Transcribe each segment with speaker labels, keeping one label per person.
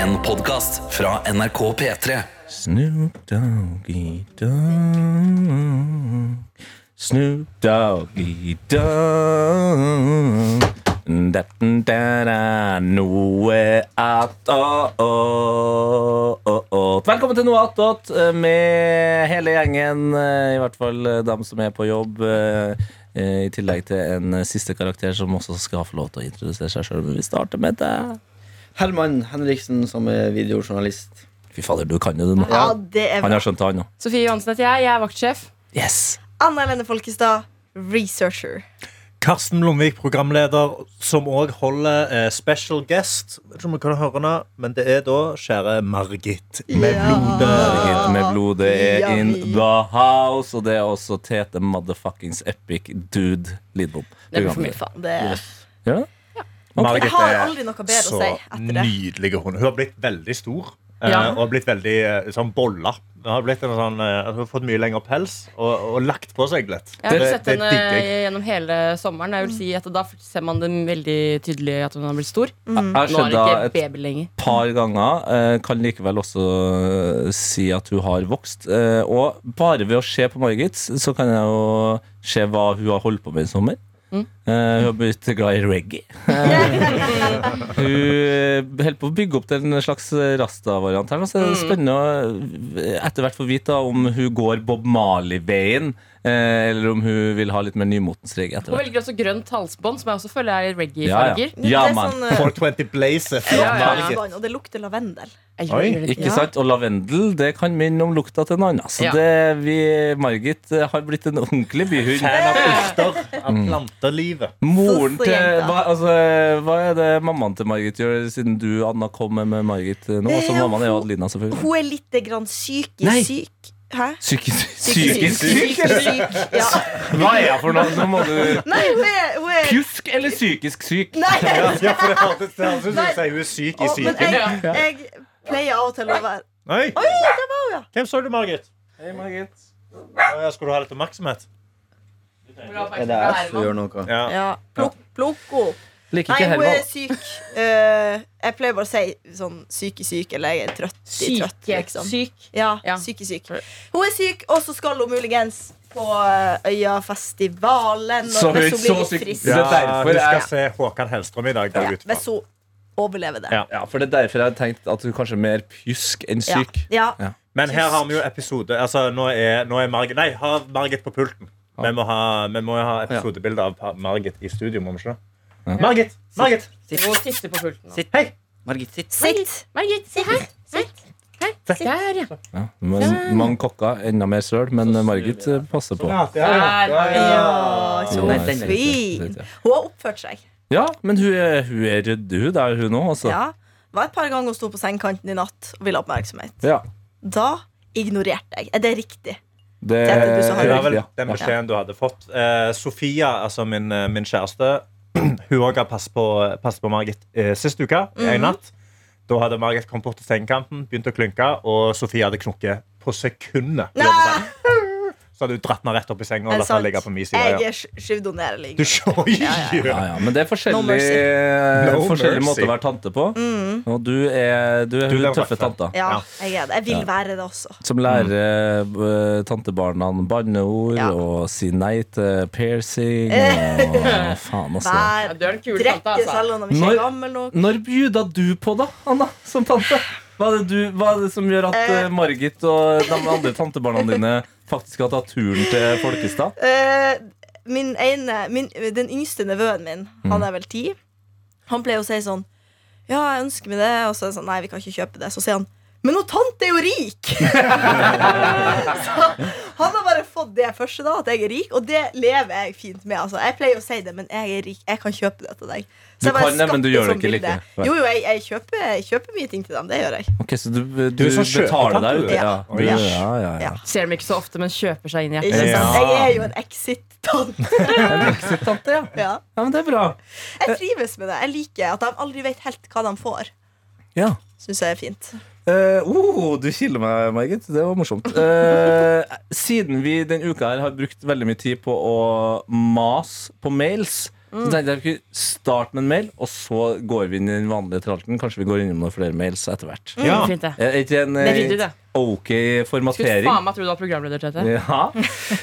Speaker 1: En podcast fra NRK P3
Speaker 2: Snoop Doggy Dogg Snoop Doggy Dogg Detten der er noe attåt Velkommen til Noe attåt med hele gjengen, eh, i hvert fall eh, dem som er på jobb. eh, eh, I tillegg til en eh, siste karakter som også skal få lov til å introdusere seg sjøl. Men vi starter med deg.
Speaker 3: Herman Henriksen, som er videojournalist.
Speaker 2: Fy fader, du kan jo det nå.
Speaker 4: Ja, det er
Speaker 2: Han
Speaker 4: bra.
Speaker 2: har skjønt det, han òg.
Speaker 5: Sofie Johansen heter jeg. Jeg er vaktsjef.
Speaker 2: Yes.
Speaker 4: Anna Helene Folkestad, researcher.
Speaker 6: Karsten Blomvik, programleder, som òg holder eh, special guest. Jeg Vet ikke om vi kan høre henne, men det er da kjære Margit med
Speaker 4: Ja.
Speaker 6: blodet.
Speaker 2: Margit med blodet er
Speaker 4: Ah, Ja,
Speaker 2: in
Speaker 4: vi-
Speaker 2: the house, og det er også Tete Motherfuckings Epic Dude Lidbom.
Speaker 5: Det blir for mye Mm. faen.
Speaker 4: Det,
Speaker 2: Ja.
Speaker 4: jeg
Speaker 6: Margit
Speaker 4: har
Speaker 6: er
Speaker 4: aldri noe bedre å
Speaker 6: så
Speaker 4: si etter det.
Speaker 6: nydelig hun. Hun har blitt veldig stor eh,
Speaker 5: Ja.
Speaker 6: og har blitt veldig eh, sånn bolla. Hun har, blitt en sånn, eh, hun har fått mye lengre pels og, og lagt på seg litt.
Speaker 5: Jeg har sett henne
Speaker 6: digger jeg.
Speaker 5: gjennom hele sommeren. Jeg vil si at Da ser man det veldig tydelig at hun har blitt stor.
Speaker 2: Jeg har
Speaker 5: Nå
Speaker 2: sett
Speaker 5: er det
Speaker 2: henne
Speaker 5: ikke
Speaker 2: et
Speaker 5: baby lenger.
Speaker 2: par ganger. eh, Kan likevel også eh, si at hun har vokst. eh, Og bare ved å se på Margit, så kan jeg jo se hva hun har holdt på med i sommer.
Speaker 5: Mm.
Speaker 2: Eh, hun har blitt glad i reggae. Hun holder på å bygge opp til en slags rasta-variant her. nå, Så det er spennende å etter hvert få vite da, om hun går Bob Marley-veien, eh, eller om hun vil ha litt mer nymotens reggae etter
Speaker 5: Hun
Speaker 2: hvert.
Speaker 5: velger også grønt halsbånd, som jeg også føler er
Speaker 2: Ja,
Speaker 5: i
Speaker 2: ja.
Speaker 5: reggae-farger.
Speaker 2: Ja,
Speaker 4: det er
Speaker 2: man.
Speaker 4: sånn, eh,
Speaker 6: 420 Blaze.
Speaker 5: Ja, ja, ja.
Speaker 4: vann, og det lukter lavendel.
Speaker 5: Jeg
Speaker 6: Oi,
Speaker 5: gjør det.
Speaker 2: Ikke
Speaker 5: Ja.
Speaker 2: sant? Og lavendel det kan minne om lukta til en annen. Så
Speaker 5: Ja.
Speaker 2: det, vi, Margit eh, har blitt en ordentlig byhund.
Speaker 6: Fan av urter.
Speaker 4: Mm.
Speaker 6: Av plantelivet.
Speaker 2: Moren
Speaker 4: Så
Speaker 2: til
Speaker 4: jenta.
Speaker 2: hva, altså, hva er det mammaen til Margit gjør, siden du, Anna, kommer med Margit eh, nå? Altså,
Speaker 4: Eh,
Speaker 2: mammaen er jo
Speaker 4: hun-
Speaker 2: Adelina, selvfølgelig.
Speaker 4: Hun er litt grann psykisk
Speaker 2: Nei.
Speaker 4: syk. Hæ?
Speaker 2: Psykisk psykisk syk?
Speaker 4: Psykisk syk. Ja.
Speaker 2: Hva er jeg for noe? Nå må du
Speaker 4: Nei, hun er, hun er
Speaker 2: Pjusk eller psykisk syk?
Speaker 4: Nei,
Speaker 6: Ja, ja, for det hørtes det hørtes ut som
Speaker 4: Nei.
Speaker 6: hun sier hun er syk i
Speaker 4: å, men
Speaker 6: psyken.
Speaker 4: jeg, jeg pleier av og til å være
Speaker 6: Oi,
Speaker 4: Oi, der var hun, ja!
Speaker 6: Hvem så du, Margit?
Speaker 2: Hei, Margit.
Speaker 6: Å, ja, Skulle du ha litt oppmerksomhet?
Speaker 3: Er det jeg som gjør noe?
Speaker 6: Ja.
Speaker 4: ja. Plukk, plukk henne.
Speaker 2: Liker
Speaker 4: Nei,
Speaker 2: ikke
Speaker 4: hun er
Speaker 2: Herman.
Speaker 4: syk. Eh, jeg pleier bare å si sånn psykisk syk, eller jeg er trøtt i trøtt, liksom.
Speaker 5: Syk.
Speaker 4: Ja,
Speaker 5: Ja.
Speaker 4: syk i syk. Hun er syk, og så skal hun muligens på eh, Øyafestivalen. og
Speaker 2: Så hun
Speaker 4: hvis
Speaker 2: er
Speaker 4: blir
Speaker 2: så
Speaker 4: litt
Speaker 2: syk.
Speaker 4: frisk.
Speaker 2: Det er
Speaker 6: Ja,
Speaker 2: derfor
Speaker 6: du skal
Speaker 2: jeg
Speaker 6: se Håkan Hellstrøm i dag. går jeg
Speaker 4: Ja,
Speaker 6: ut fra.
Speaker 4: hvis hun overlever det.
Speaker 6: Ja.
Speaker 2: ja, for det er derfor jeg har tenkt at du kanskje er mer pjusk enn
Speaker 4: Ja.
Speaker 2: syk.
Speaker 4: Ja.
Speaker 2: Ja.
Speaker 6: Men her har vi jo episode altså, nå, er, nå er Margit Nei, ha Margit på pulten. Vi må ha, vi må jo ha episodebilde av Pa- Margit i studio. må vi ikke det? Margit! Margit!
Speaker 5: Sitt. Hun sitter på pulten. nå.
Speaker 3: Sitt.
Speaker 6: Hei!
Speaker 3: Margit, sitt.
Speaker 4: Sitt.
Speaker 5: Margit, si her. Sitt. Her. Der, ja.
Speaker 2: Ja, men, mange kokker, enda mer søl, men eh, Margit eh, passer på.
Speaker 6: Ja, ja, ja, ja, ja.
Speaker 4: Ja, så
Speaker 2: Nei, den er ikke-
Speaker 4: fin. Hun har oppført seg.
Speaker 2: Ja, men hun er, hun er ryddig, hun. Det er hun òg, altså.
Speaker 4: Ja. Det var et par ganger hun sto på sengekanten i natt og ville ha oppmerksomhet.
Speaker 2: Ja.
Speaker 4: Da ignorerte jeg. Er det riktig?
Speaker 2: Det
Speaker 4: Tete, du som har
Speaker 6: Det var
Speaker 2: er
Speaker 6: vel
Speaker 2: riktig,
Speaker 6: den
Speaker 2: ja.
Speaker 6: beskjeden du hadde fått. Eh, Sofia, altså min, eh, min kjæreste, hun òg har passet på, passet på Margit eh, sist uke,
Speaker 4: Mhm.
Speaker 6: en natt. Da hadde Margit kommet bort til sengekanten, begynt å klynke, og Sofie hadde knukket på sekundet.
Speaker 4: Nei,
Speaker 6: Så hadde hun dratt meg rett opp i senga
Speaker 4: er
Speaker 6: og
Speaker 4: det
Speaker 6: latt meg
Speaker 4: sant?
Speaker 6: ligge på min side.
Speaker 4: Jeg
Speaker 6: Ja.
Speaker 4: er sj- skyvdonerlig.
Speaker 6: Du ser jo
Speaker 2: Ja, ja, men det er
Speaker 4: No
Speaker 2: forskjellig,
Speaker 4: mercy. Mm.
Speaker 6: No
Speaker 2: forskjellige
Speaker 6: mercy.
Speaker 2: måter å være tante på. Og du er, du er
Speaker 6: Du
Speaker 2: hun
Speaker 6: lever
Speaker 2: tøffe
Speaker 6: hvertfall.
Speaker 2: tanta
Speaker 4: Ja,
Speaker 6: Ja.
Speaker 4: jeg er det. Jeg vil være det også.
Speaker 2: som lærer eh, tantebarna banneord
Speaker 4: Ja.
Speaker 2: og si nei til piercing og faen også.
Speaker 5: Ja,
Speaker 4: Vær
Speaker 5: Du er den kule tanta,
Speaker 4: Drikke
Speaker 5: altså.
Speaker 4: selv om de ikke
Speaker 2: Når-
Speaker 4: er gammel nok.
Speaker 2: Når bjuda du på, da, Anna, som tante? Hva er det, du, hva er det som gjør at eh, Margit og de andre tantebarna dine faktisk har tatt turen til Folkestad?
Speaker 4: Eh, min ene, min, den yngste nevøen min,
Speaker 2: Mm.
Speaker 4: han er vel ti, han pleier å si sånn Ja, jeg ønsker meg det. Og så er det sånn, nei, vi kan ikke kjøpe det. Så sier han men hun tante er jo rik! så han har bare fått det første, da, at jeg er rik, og det lever jeg fint med. Altså. Jeg pleier å si det, men jeg er rik. Jeg kan kjøpe det til deg.
Speaker 2: Du
Speaker 4: jeg bare
Speaker 2: kan det, men du
Speaker 4: skapte
Speaker 2: gjør det
Speaker 4: sånn
Speaker 2: ikke
Speaker 4: bilde.
Speaker 2: likevel.
Speaker 4: Jo, jo, jeg, jeg, kjøper, jeg kjøper mye ting til dem. Det gjør jeg.
Speaker 2: Ok, Så du, du,
Speaker 6: er sånn
Speaker 2: betaler deg
Speaker 6: kjøpetant,
Speaker 2: ut?
Speaker 6: du.
Speaker 2: Ja.
Speaker 6: Ja.
Speaker 2: Du- ja, ja, ja.
Speaker 4: Ja.
Speaker 5: Ser dem ikke så ofte, men kjøper seg inn i
Speaker 4: Ikke
Speaker 5: hjertet.
Speaker 4: sant?
Speaker 6: Ja.
Speaker 4: Jeg er jo en exit-tante.
Speaker 2: En exit-tante, ja.
Speaker 4: ja.
Speaker 2: ja. Men det er bra.
Speaker 6: Eh.
Speaker 4: Jeg trives med det. Jeg liker at de aldri vet helt hva de får.
Speaker 2: Ja.
Speaker 4: Synes jeg er fint.
Speaker 2: Eh, oh, du kiler meg, Margit. Det var morsomt. Eh, siden vi denne uka her har brukt veldig mye tid på å mase på mails, Så tenkte jeg vi kunne starte med en mail, og så går vi inn i den vanlige tralten. Kanskje vi går innom noen flere mails etter hvert.
Speaker 6: Ja.
Speaker 4: Mm.
Speaker 5: Fint, det.
Speaker 2: Er ikke en
Speaker 5: Det er fint,
Speaker 2: eh,
Speaker 5: det.
Speaker 2: ok
Speaker 5: Skulle
Speaker 2: formatering?
Speaker 5: faen meg tro du var programleder, Tete.
Speaker 2: Ja.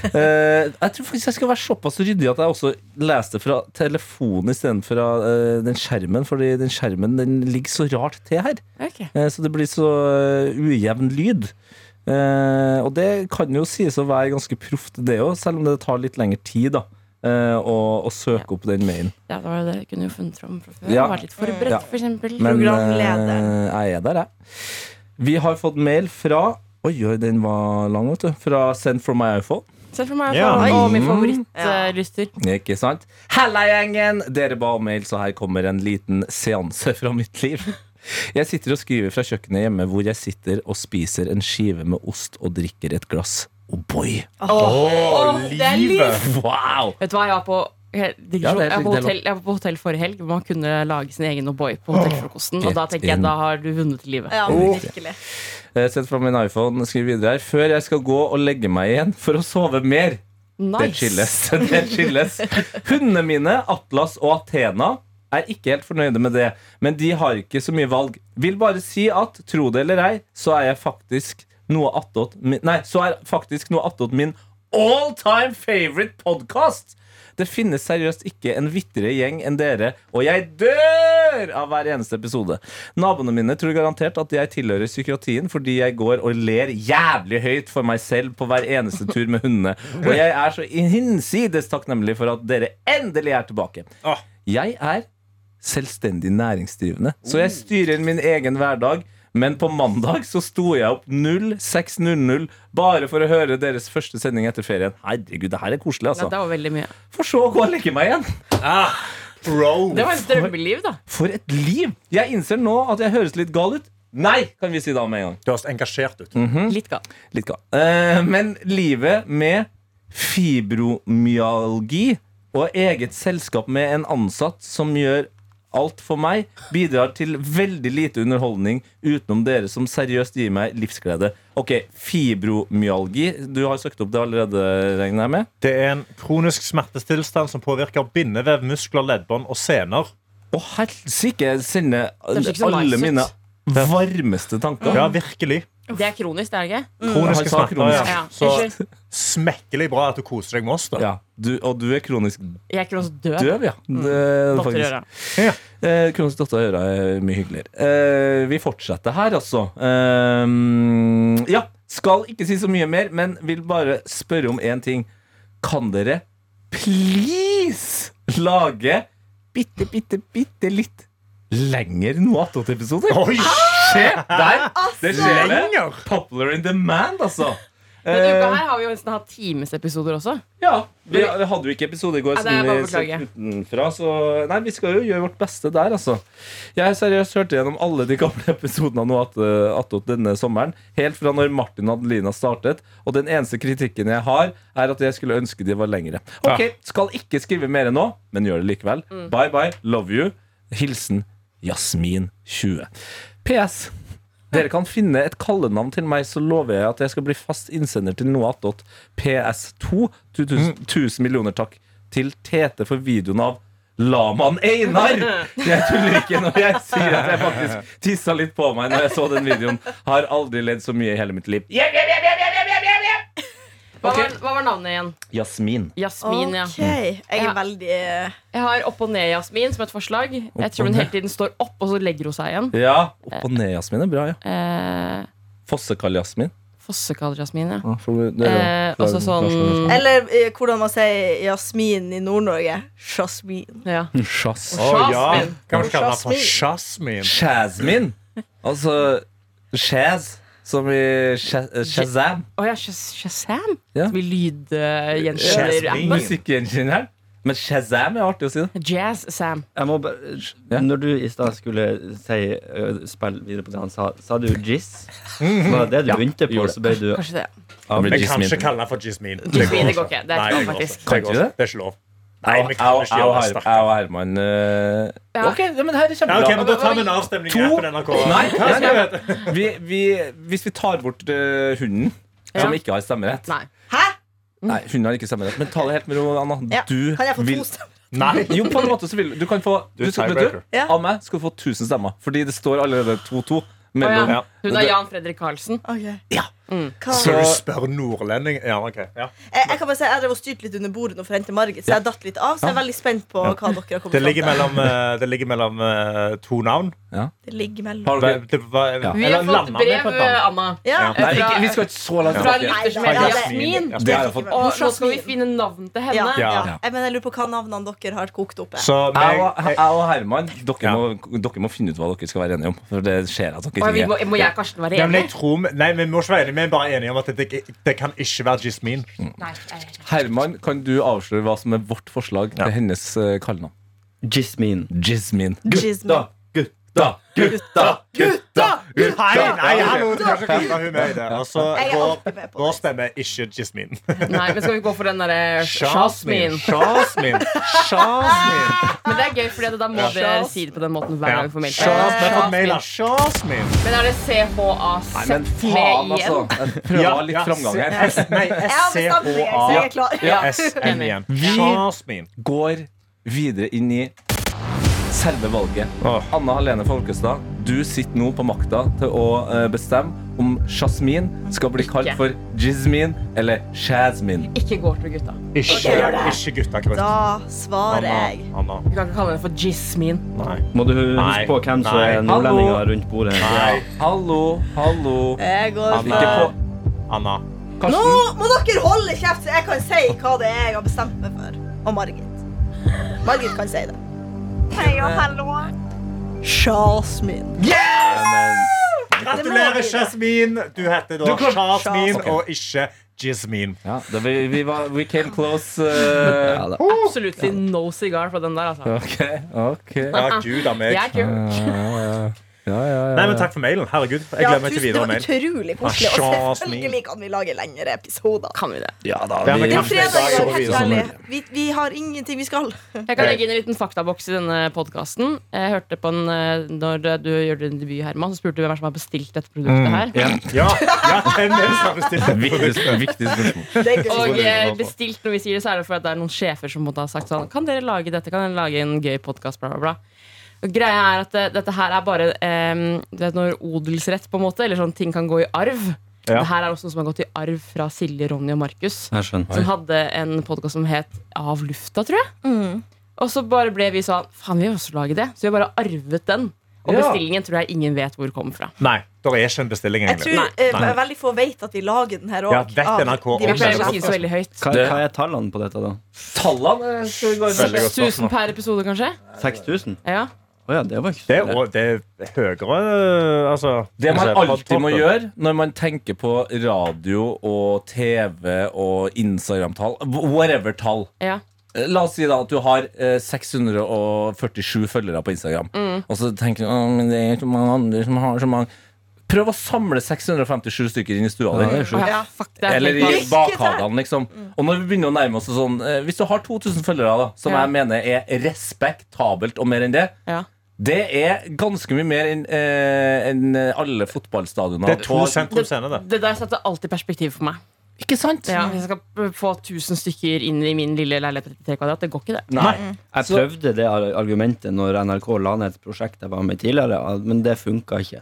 Speaker 2: Eh, jeg tror faktisk jeg skal være såpass ryddig at jeg også leste fra telefonen istedenfor fra eh, den skjermen, fordi den skjermen den ligger så rart til her.
Speaker 5: Ok.
Speaker 2: Eh, så det blir så eh, ujevn lyd. Eh, og det kan jo sies å være ganske proft, det òg, selv om det tar litt lengre tid da eh, å, å søke opp den mailen.
Speaker 5: Ja, det var jo det. Jeg kunne jo funnet fram fra før.
Speaker 2: Ja.
Speaker 5: Vært litt forberedt,
Speaker 2: Ja.
Speaker 5: for eksempel.
Speaker 2: Men
Speaker 4: Programlederen.
Speaker 2: eh, jeg er der, jeg. Vi har fått mail fra Oi, oi, den var lang, vet du. Fra Send from my iPhone.
Speaker 5: Se for meg
Speaker 6: Ja.
Speaker 5: faen,
Speaker 2: Mm.
Speaker 5: å, min
Speaker 4: Ja.
Speaker 5: favorittlyster.
Speaker 2: Ikke sant? Halla, gjengen! Dere ba om mail, så her kommer en liten seanse fra mitt liv. Jeg sitter og skriver fra kjøkkenet hjemme, hvor jeg sitter og spiser en skive med ost og drikker et glass. Oh boy!
Speaker 6: Åh,
Speaker 5: det er
Speaker 6: livet!
Speaker 2: Wow!
Speaker 5: Vet du hva, jeg var på jeg
Speaker 2: Ja, det er
Speaker 5: var på
Speaker 2: helt
Speaker 5: hotell, jeg var på hotell forrige helg. hvor Man kunne lage sin egen O'boy på hotellfrokosten. Og da
Speaker 2: Get
Speaker 5: tenker jeg,
Speaker 2: in.
Speaker 5: da har du vunnet livet.
Speaker 4: Ja,
Speaker 6: Oh.
Speaker 4: virkelig.
Speaker 2: Eh, Sett fra min iPhone, skriv videre her. Før jeg skal gå og legge meg igjen for å sove mer. Det chilles.
Speaker 5: Nice.
Speaker 2: Det chilles. Hundene mine, Atlas og Athena, er ikke helt fornøyde med det. Men de har ikke så mye valg. Vil bare si at, tro det eller ei, så er jeg faktisk noe attåt min Nei, så er faktisk noe attåt min all time favorite podcast! Det finnes seriøst ikke en vittere gjeng enn dere, og jeg dør av hver eneste episode. Naboene mine tror garantert at jeg tilhører psykiatrien fordi jeg går og ler jævlig høyt for meg selv på hver eneste tur med hundene. Og jeg er så hinsides takknemlig for at dere endelig er tilbake.
Speaker 6: Åh.
Speaker 2: Jeg er selvstendig næringsdrivende, så jeg styrer min egen hverdag. Men på mandag så sto jeg opp 06.00 bare for å høre deres første sending etter ferien. Herregud, det her er koselig,
Speaker 5: Ja,
Speaker 2: altså.
Speaker 5: det var veldig mye.
Speaker 2: For så å gå og legge meg igjen.
Speaker 6: Ah, bro.
Speaker 5: Det var et drømmeliv, da.
Speaker 2: For et liv! Jeg innser nå at jeg høres litt gal ut. Nei, kan vi si da med en gang.
Speaker 6: Du høres engasjert ut.
Speaker 2: Mm.
Speaker 5: Litt gal.
Speaker 2: Litt gal. Eh, men livet med fibromyalgi og eget selskap med en ansatt som gjør alt for meg, bidrar til veldig lite underholdning utenom dere som seriøst gir meg livsglede. Ok, fibromyalgi. Du har søkt opp det allerede, regner jeg med?
Speaker 6: Det er en kronisk smertestilstand som påvirker bindevev, muskler, leddbånd og sener.
Speaker 2: Å helsike! Jeg sender
Speaker 5: Kanskje ikke så
Speaker 2: alle
Speaker 5: nice,
Speaker 2: mine
Speaker 5: sant?
Speaker 2: varmeste tanker.
Speaker 6: Ja, virkelig.
Speaker 5: Det er kronisk, det er det ikke?
Speaker 6: Kroniske
Speaker 2: Han sa
Speaker 6: smerter.
Speaker 2: kronisk.
Speaker 6: Ja.
Speaker 5: Ja.
Speaker 6: Så smekkelig bra at du koser deg med oss. da
Speaker 2: Ja, du, og du er kronisk
Speaker 5: Jeg er kronisk død.
Speaker 2: Døv, ja. Det er Mm. det
Speaker 5: Datter i
Speaker 2: faktisk.
Speaker 5: øra.
Speaker 2: Eh, Kronos datter Øra er mye hyggeligere. Eh, vi fortsetter her, altså. Eh, ja. Skal ikke si så mye mer, men vil bare spørre om én ting. Kan dere please lage bitte, bitte, bitte litt lenger noe attåt-episoder?
Speaker 6: Oi,
Speaker 2: Skjer der! Det skjer det.
Speaker 6: lenger!
Speaker 2: Popular in demand, altså.
Speaker 5: Men denne uka
Speaker 2: Eh,
Speaker 5: her har vi jo nesten hatt timesepisoder også.
Speaker 2: ja, vi vi hadde jo ikke episode i går,
Speaker 5: Nei, det er
Speaker 2: siden
Speaker 5: bare å
Speaker 2: vi
Speaker 5: beklage.
Speaker 2: satt utenfra. Så nei, vi skal jo gjøre vårt beste der, altså. Jeg har seriøst hørt gjennom alle de gamle episodene av Noe att- attåt denne sommeren. Helt fra når Martin og Adelina startet. Og den eneste kritikken jeg har, er at jeg skulle ønske de var lengre. Ok, Skal ikke skrive mer nå, men gjør det likevel.
Speaker 5: Mm.
Speaker 2: Bye bye, love you. Hilsen Jasmin20. PS. Dere kan finne et kallenavn til meg, så lover jeg at jeg skal bli fast innsender til noe attåt. PS2. 2000, 1000 millioner takk til Tete for videoen av Laman Einar! Jeg tuller ikke når jeg sier at jeg faktisk tissa litt på meg når jeg så den videoen. Har aldri ledd så mye i hele mitt liv. Yeah, yeah, yeah, yeah, yeah, yeah, yeah, yeah.
Speaker 5: Hva,
Speaker 2: Ok.
Speaker 5: var, hva var navnet igjen?
Speaker 2: Jasmin.
Speaker 5: Jasmin, ja.
Speaker 4: Ok, Jeg er
Speaker 5: Ja.
Speaker 4: veldig eh,
Speaker 5: Jeg har Opp og ned Jasmin som et forslag. Jeg
Speaker 2: og
Speaker 5: tror hun
Speaker 2: ned.
Speaker 5: hele tiden står opp, og så legger hun seg igjen.
Speaker 2: Ja. Opp og ned, Jasmin er bra, ja.
Speaker 5: Eh,
Speaker 2: Fossekall-Jasmin.
Speaker 5: Fossekall-Jasmin, ja.
Speaker 2: Ja, for det er jo- det
Speaker 5: Eh,
Speaker 2: er jo
Speaker 5: også sånn
Speaker 4: Eller eh, hvordan man sier jasmin i Nord-Norge. Jasmin.
Speaker 5: ja.
Speaker 2: Sjas-
Speaker 6: Å ja.
Speaker 5: Jasmin.
Speaker 6: Kan vi kalle den for Jasmin?
Speaker 2: Jasmine. Altså Shaz, som i Sha- eh, Shazam.
Speaker 5: Å ja, Shaz- Shazam?
Speaker 2: Ja.
Speaker 5: Som vi
Speaker 6: Jasmin.
Speaker 5: lydgjenkjenner-appen.
Speaker 2: Musikkingeniøren. Men Shazam er artig å si, da.
Speaker 5: Jazz-Sam.
Speaker 3: Jeg må bare
Speaker 2: Ja.
Speaker 3: Når du i stad skulle si ø, Spill videre på det han sa, sa du jizz? Var det det du begynte på,
Speaker 2: gjorde
Speaker 3: så ble du
Speaker 5: Kanskje det.
Speaker 6: Vi kan ikke kalle den for Jasmin.
Speaker 5: Jasmin, det går ikke. Det er
Speaker 6: Nei,
Speaker 5: ikke lov,
Speaker 6: går
Speaker 5: faktisk.
Speaker 6: Det,
Speaker 2: Kan
Speaker 6: går
Speaker 2: ikke det?
Speaker 6: Det er ikke lov. Nei,
Speaker 2: Au, au,
Speaker 6: vi kan ikke
Speaker 2: au,
Speaker 6: gjøre det
Speaker 2: Her-
Speaker 6: sterkt.
Speaker 2: au, Herman. eh,
Speaker 5: Ja.
Speaker 2: Ok, ja, men det her er
Speaker 6: Ja,
Speaker 2: kjempebra.
Speaker 6: ok, men Da tar vi en avstemning her
Speaker 2: To-
Speaker 6: på NRK.
Speaker 2: Nei,
Speaker 6: Hva skal vi hete?
Speaker 2: vi, vi, hvis vi tar bort eh, hunden,
Speaker 5: Ja.
Speaker 2: som ikke har stemmerett
Speaker 5: Nei.
Speaker 4: Hæ?
Speaker 2: Nei, hunden har ikke stemmerett, men ta det helt med ro, Anna.
Speaker 4: Ja.
Speaker 2: Du
Speaker 4: Kan jeg få
Speaker 2: vil
Speaker 4: to stemmer?
Speaker 6: Nei.
Speaker 2: Jo, på en måte så vil du kan få
Speaker 6: Du er
Speaker 2: du skal, vet
Speaker 6: tiebreaker.
Speaker 2: du,
Speaker 4: Ja.
Speaker 2: Av meg skal du få 1000 stemmer, fordi det står allerede 2-2 mellom
Speaker 5: ja. Hun er
Speaker 2: Det-
Speaker 5: Jan Fredrik Karlsen.
Speaker 4: Ok.
Speaker 6: Ja.
Speaker 4: Hva?
Speaker 6: Så
Speaker 4: jeg,
Speaker 6: du spør nordlending Ja, OK. Ja.
Speaker 4: jeg kan bare si, jeg drev og styrte litt under bordet nå for å hente Margit, så jeg datt litt av. Så jeg er veldig spent på hva dere har kommet fram
Speaker 6: Det ligger
Speaker 4: til.
Speaker 6: mellom, eh, det ligger mellom eh, to navn.
Speaker 4: Det ligger mellom.
Speaker 2: Har dere-
Speaker 6: Hva- det var-
Speaker 5: Vi
Speaker 6: eller
Speaker 5: har fått
Speaker 6: lander vi
Speaker 5: brev, eh,
Speaker 6: på et navn?
Speaker 5: Anna.
Speaker 4: Ja.
Speaker 6: Ja.
Speaker 2: Nei, ikke, vi skal ikke så langt
Speaker 5: Fra
Speaker 2: tilbake.
Speaker 5: lytter som
Speaker 4: Nei, nei,
Speaker 5: heter
Speaker 4: nei.
Speaker 5: Jasmin.
Speaker 2: Det har jeg
Speaker 4: Jasmin.
Speaker 2: fått.
Speaker 5: Og nå skal vi finne navnet til
Speaker 4: Ja,
Speaker 5: henne.
Speaker 4: ja.
Speaker 6: Ja.
Speaker 4: Jeg, mener, jeg lurer på hva navnene dere har kokt opp.
Speaker 6: Så
Speaker 2: Jeg og,
Speaker 6: meg,
Speaker 2: jeg og Herman, dere,
Speaker 6: Ja.
Speaker 2: må, dere må finne ut hva dere skal være enige om. For det ser jeg at
Speaker 5: Og
Speaker 2: dere
Speaker 5: vi
Speaker 2: ikke
Speaker 5: må, må jeg og Karsten være
Speaker 6: Nei, men jeg
Speaker 5: enige?
Speaker 6: tror, vi- nei, vi må ikke være enige, vi er bare enige om at det, det kan ikke være Jasmin.
Speaker 5: Nei, jeg-
Speaker 2: Herman, kan du avsløre hva som er vårt forslag til hennes eh, kallenavn?
Speaker 3: Jasmin.
Speaker 2: Jasmin.
Speaker 4: Gutta,
Speaker 2: gutta, gutta, gutta!
Speaker 6: Nei, nei, hallo, du kan ikke kaste hun med i det. Altså,
Speaker 4: Jeg er
Speaker 6: vår,
Speaker 4: alltid med på
Speaker 6: vår
Speaker 4: det.
Speaker 6: stemme er ikke Jasmin.
Speaker 5: Nei, men skal vi gå for den eh, derre Jasmin?
Speaker 6: Jasmin. Jasmin.
Speaker 5: Men det er gøy, for da må
Speaker 6: Ja.
Speaker 5: dere si det på den måten hver
Speaker 6: Ja.
Speaker 5: gang vi får mail.
Speaker 6: Jasmin. Vi har fått mail altså. av
Speaker 5: Jasmin.
Speaker 6: Jasmin.
Speaker 5: Men er det
Speaker 2: Nei, men
Speaker 5: CHA-sett
Speaker 2: faen,
Speaker 5: med
Speaker 2: altså.
Speaker 5: igjen?
Speaker 2: Jeg prøver å ha litt framgang her.
Speaker 6: S- Nei,
Speaker 4: Jeg har bestemt meg, så jeg er
Speaker 6: S-C-H-A-S-M
Speaker 4: klar.
Speaker 5: Ja.
Speaker 6: igjen.
Speaker 2: Vi-
Speaker 6: Jasmin.
Speaker 2: Går videre inn i selve valget.
Speaker 6: Åh.
Speaker 2: Anna Helene Folkestad, du sitter nå på makta til å eh, bestemme om Jasmin skal bli kalt
Speaker 5: Ikke.
Speaker 2: for Jizmin eller Shazmin.
Speaker 5: Ikke går til gutta.
Speaker 6: Ikke, ikke gutta krutt.
Speaker 4: Da svarer jeg.
Speaker 6: Anna.
Speaker 5: Vi kan ikke kalle henne for Jismin.
Speaker 6: Nei.
Speaker 3: Må du huske
Speaker 6: Nei.
Speaker 3: på hvem som
Speaker 6: Nei.
Speaker 3: er nordlendinger rundt bordet?
Speaker 6: Nei.
Speaker 2: Hallo, hallo.
Speaker 4: Jeg går
Speaker 6: Anna.
Speaker 2: Ikke
Speaker 4: for
Speaker 2: på
Speaker 6: Anna.
Speaker 4: Nå må dere holde kjeft, så jeg kan si hva det er jeg har bestemt meg for. Og Margit. Margit kan si det. Hei og hallo. Jasmin.
Speaker 6: Gratulerer, Jasmin. Du heter da Jasmin
Speaker 2: Ok.
Speaker 6: og ikke Jasmin.
Speaker 2: Ja, det, vi, vi var We came close. eh,
Speaker 3: Ja, da.
Speaker 5: Absolutt no cigar fra den der, altså.
Speaker 2: OK. ok ja,
Speaker 6: Ja, gud av meg.
Speaker 5: Jeg er kul.
Speaker 2: ja, ja, ja,
Speaker 6: Nei, men Takk for mailen. Herregud. Jeg
Speaker 4: Ja,
Speaker 6: gleder
Speaker 4: tusen,
Speaker 6: meg til Ah,
Speaker 4: det
Speaker 6: videre
Speaker 4: var
Speaker 6: mail.
Speaker 4: utrolig koselig. Og
Speaker 6: Jasmin.
Speaker 4: selvfølgelig kan vi lage lengre episoder.
Speaker 5: Kan vi det?
Speaker 2: ja da,
Speaker 6: Ja, men
Speaker 2: vi,
Speaker 4: Det er
Speaker 6: kanskje
Speaker 4: fredag i dag,
Speaker 6: går
Speaker 4: helt
Speaker 6: videre.
Speaker 4: ærlig. Vi, vi har ingenting vi skal.
Speaker 5: Jeg kan legge inn en liten faktaboks i denne podkasten. Jeg hørte på en eh, Når du gjorde din debut, Herman, så spurte du hvem er som har bestilt dette produktet
Speaker 2: Mm.
Speaker 5: her.
Speaker 6: Ja, ja den er så bestilt.
Speaker 2: viktig, viktig spørsmål.
Speaker 4: Det er gøy.
Speaker 5: Og eh, bestilt når vi sier det, så er det for at det er noen sjefer som måtte ha sagt sånn Kan dere lage dette? Kan dere lage en gøy podkast? Bla, bla, bla. Og greia er at eh, dette her er bare eh, Du vet når odelsrett, på en måte, eller sånn ting kan gå i arv.
Speaker 6: Ja.
Speaker 5: Det her er også noe som har gått i arv fra Silje, Ronny og Markus.
Speaker 3: Jeg skjønner.
Speaker 5: Som hadde en podkast som het Av lufta, tror jeg. Og så bare ble vi sånn Faen, vi vil også lage det. Så vi bare arvet den. Og
Speaker 2: Ja.
Speaker 5: bestillingen tror jeg ingen vet hvor kom fra.
Speaker 6: Nei, det er ikke en bestilling,
Speaker 4: Jeg
Speaker 6: egentlig.
Speaker 4: tror eh,
Speaker 6: Nei.
Speaker 4: veldig få vet at vi lager den her
Speaker 6: Ja,
Speaker 4: òg.
Speaker 6: vet NRK
Speaker 5: Vi
Speaker 6: om den
Speaker 5: pleier ikke å si det så veldig høyt.
Speaker 3: Hva,
Speaker 2: Det-
Speaker 3: hva er tallene på dette, da?
Speaker 2: Tallene eh, skal vi gå inn
Speaker 6: Veldig godt spørsmål.
Speaker 5: 1000 per episode, kanskje?
Speaker 3: 6000?
Speaker 5: Ja.
Speaker 3: Å ja, det var ikke så
Speaker 6: Det er,
Speaker 3: ille.
Speaker 6: også- det er høyere altså,
Speaker 2: Det man
Speaker 6: altså,
Speaker 2: alltid må
Speaker 6: podden.
Speaker 2: gjøre når man tenker på radio og TV og Instagram-tall, whatever tall
Speaker 5: ja.
Speaker 2: Eh, La oss si da at du har eh, 647 følgere på Instagram.
Speaker 5: Mm.
Speaker 2: Og så tenker du «Åh, men det er ikke mange andre som har så mange Prøv å samle 657 stykker inn i stua di.
Speaker 5: Å ja, Mm. fuck, det er
Speaker 2: Eller
Speaker 5: helt
Speaker 2: i
Speaker 5: vanlig.
Speaker 2: bakhagene, liksom. Og når vi begynner å nærme oss sånn eh, Hvis du har 2000 følgere, da, som
Speaker 5: Ja.
Speaker 2: jeg mener er respektabelt og mer enn det,
Speaker 5: ja.
Speaker 2: det er ganske mye mer enn eh, enn alle fotballstadioner.
Speaker 6: Det er to
Speaker 2: Og-
Speaker 6: sentrum scener, det.
Speaker 5: Det der setter alltid perspektiv for meg.
Speaker 2: Ikke sant?
Speaker 5: Ja, hvis jeg skal p- få 1000 stykker inn i min lille leilighet på 33 kvadrat, det går ikke, det.
Speaker 2: Nei.
Speaker 3: Jeg prøvde det ar- argumentet når NRK la ned et prosjekt jeg var med i tidligere, al- men det funka ikke.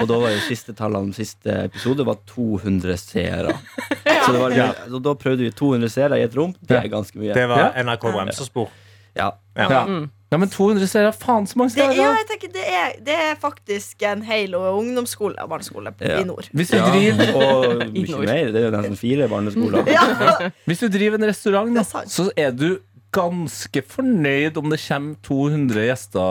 Speaker 3: Og da var jo siste tallene siste episode var 200 seere. Så det var, så da prøvde vi 200 seere i et rom. Det er ganske mye.
Speaker 6: Det var NRK Bremsespor.
Speaker 3: Ja.
Speaker 2: Ja. ja, men 200 seere, faen så mange
Speaker 4: Det,
Speaker 2: seere!
Speaker 4: ja, jeg tenker det er, det er faktisk en hel og ungdomsskole og barneskole
Speaker 3: Ja.
Speaker 4: i nord.
Speaker 2: Hvis du driver
Speaker 3: Og mye
Speaker 5: Ignor.
Speaker 3: mer. Det er jo nesten fire barneskoler.
Speaker 4: Ja,
Speaker 2: Hvis du driver en restaurant,
Speaker 4: Det
Speaker 2: da,
Speaker 4: er sant.
Speaker 2: så er du ganske fornøyd om det kommer 200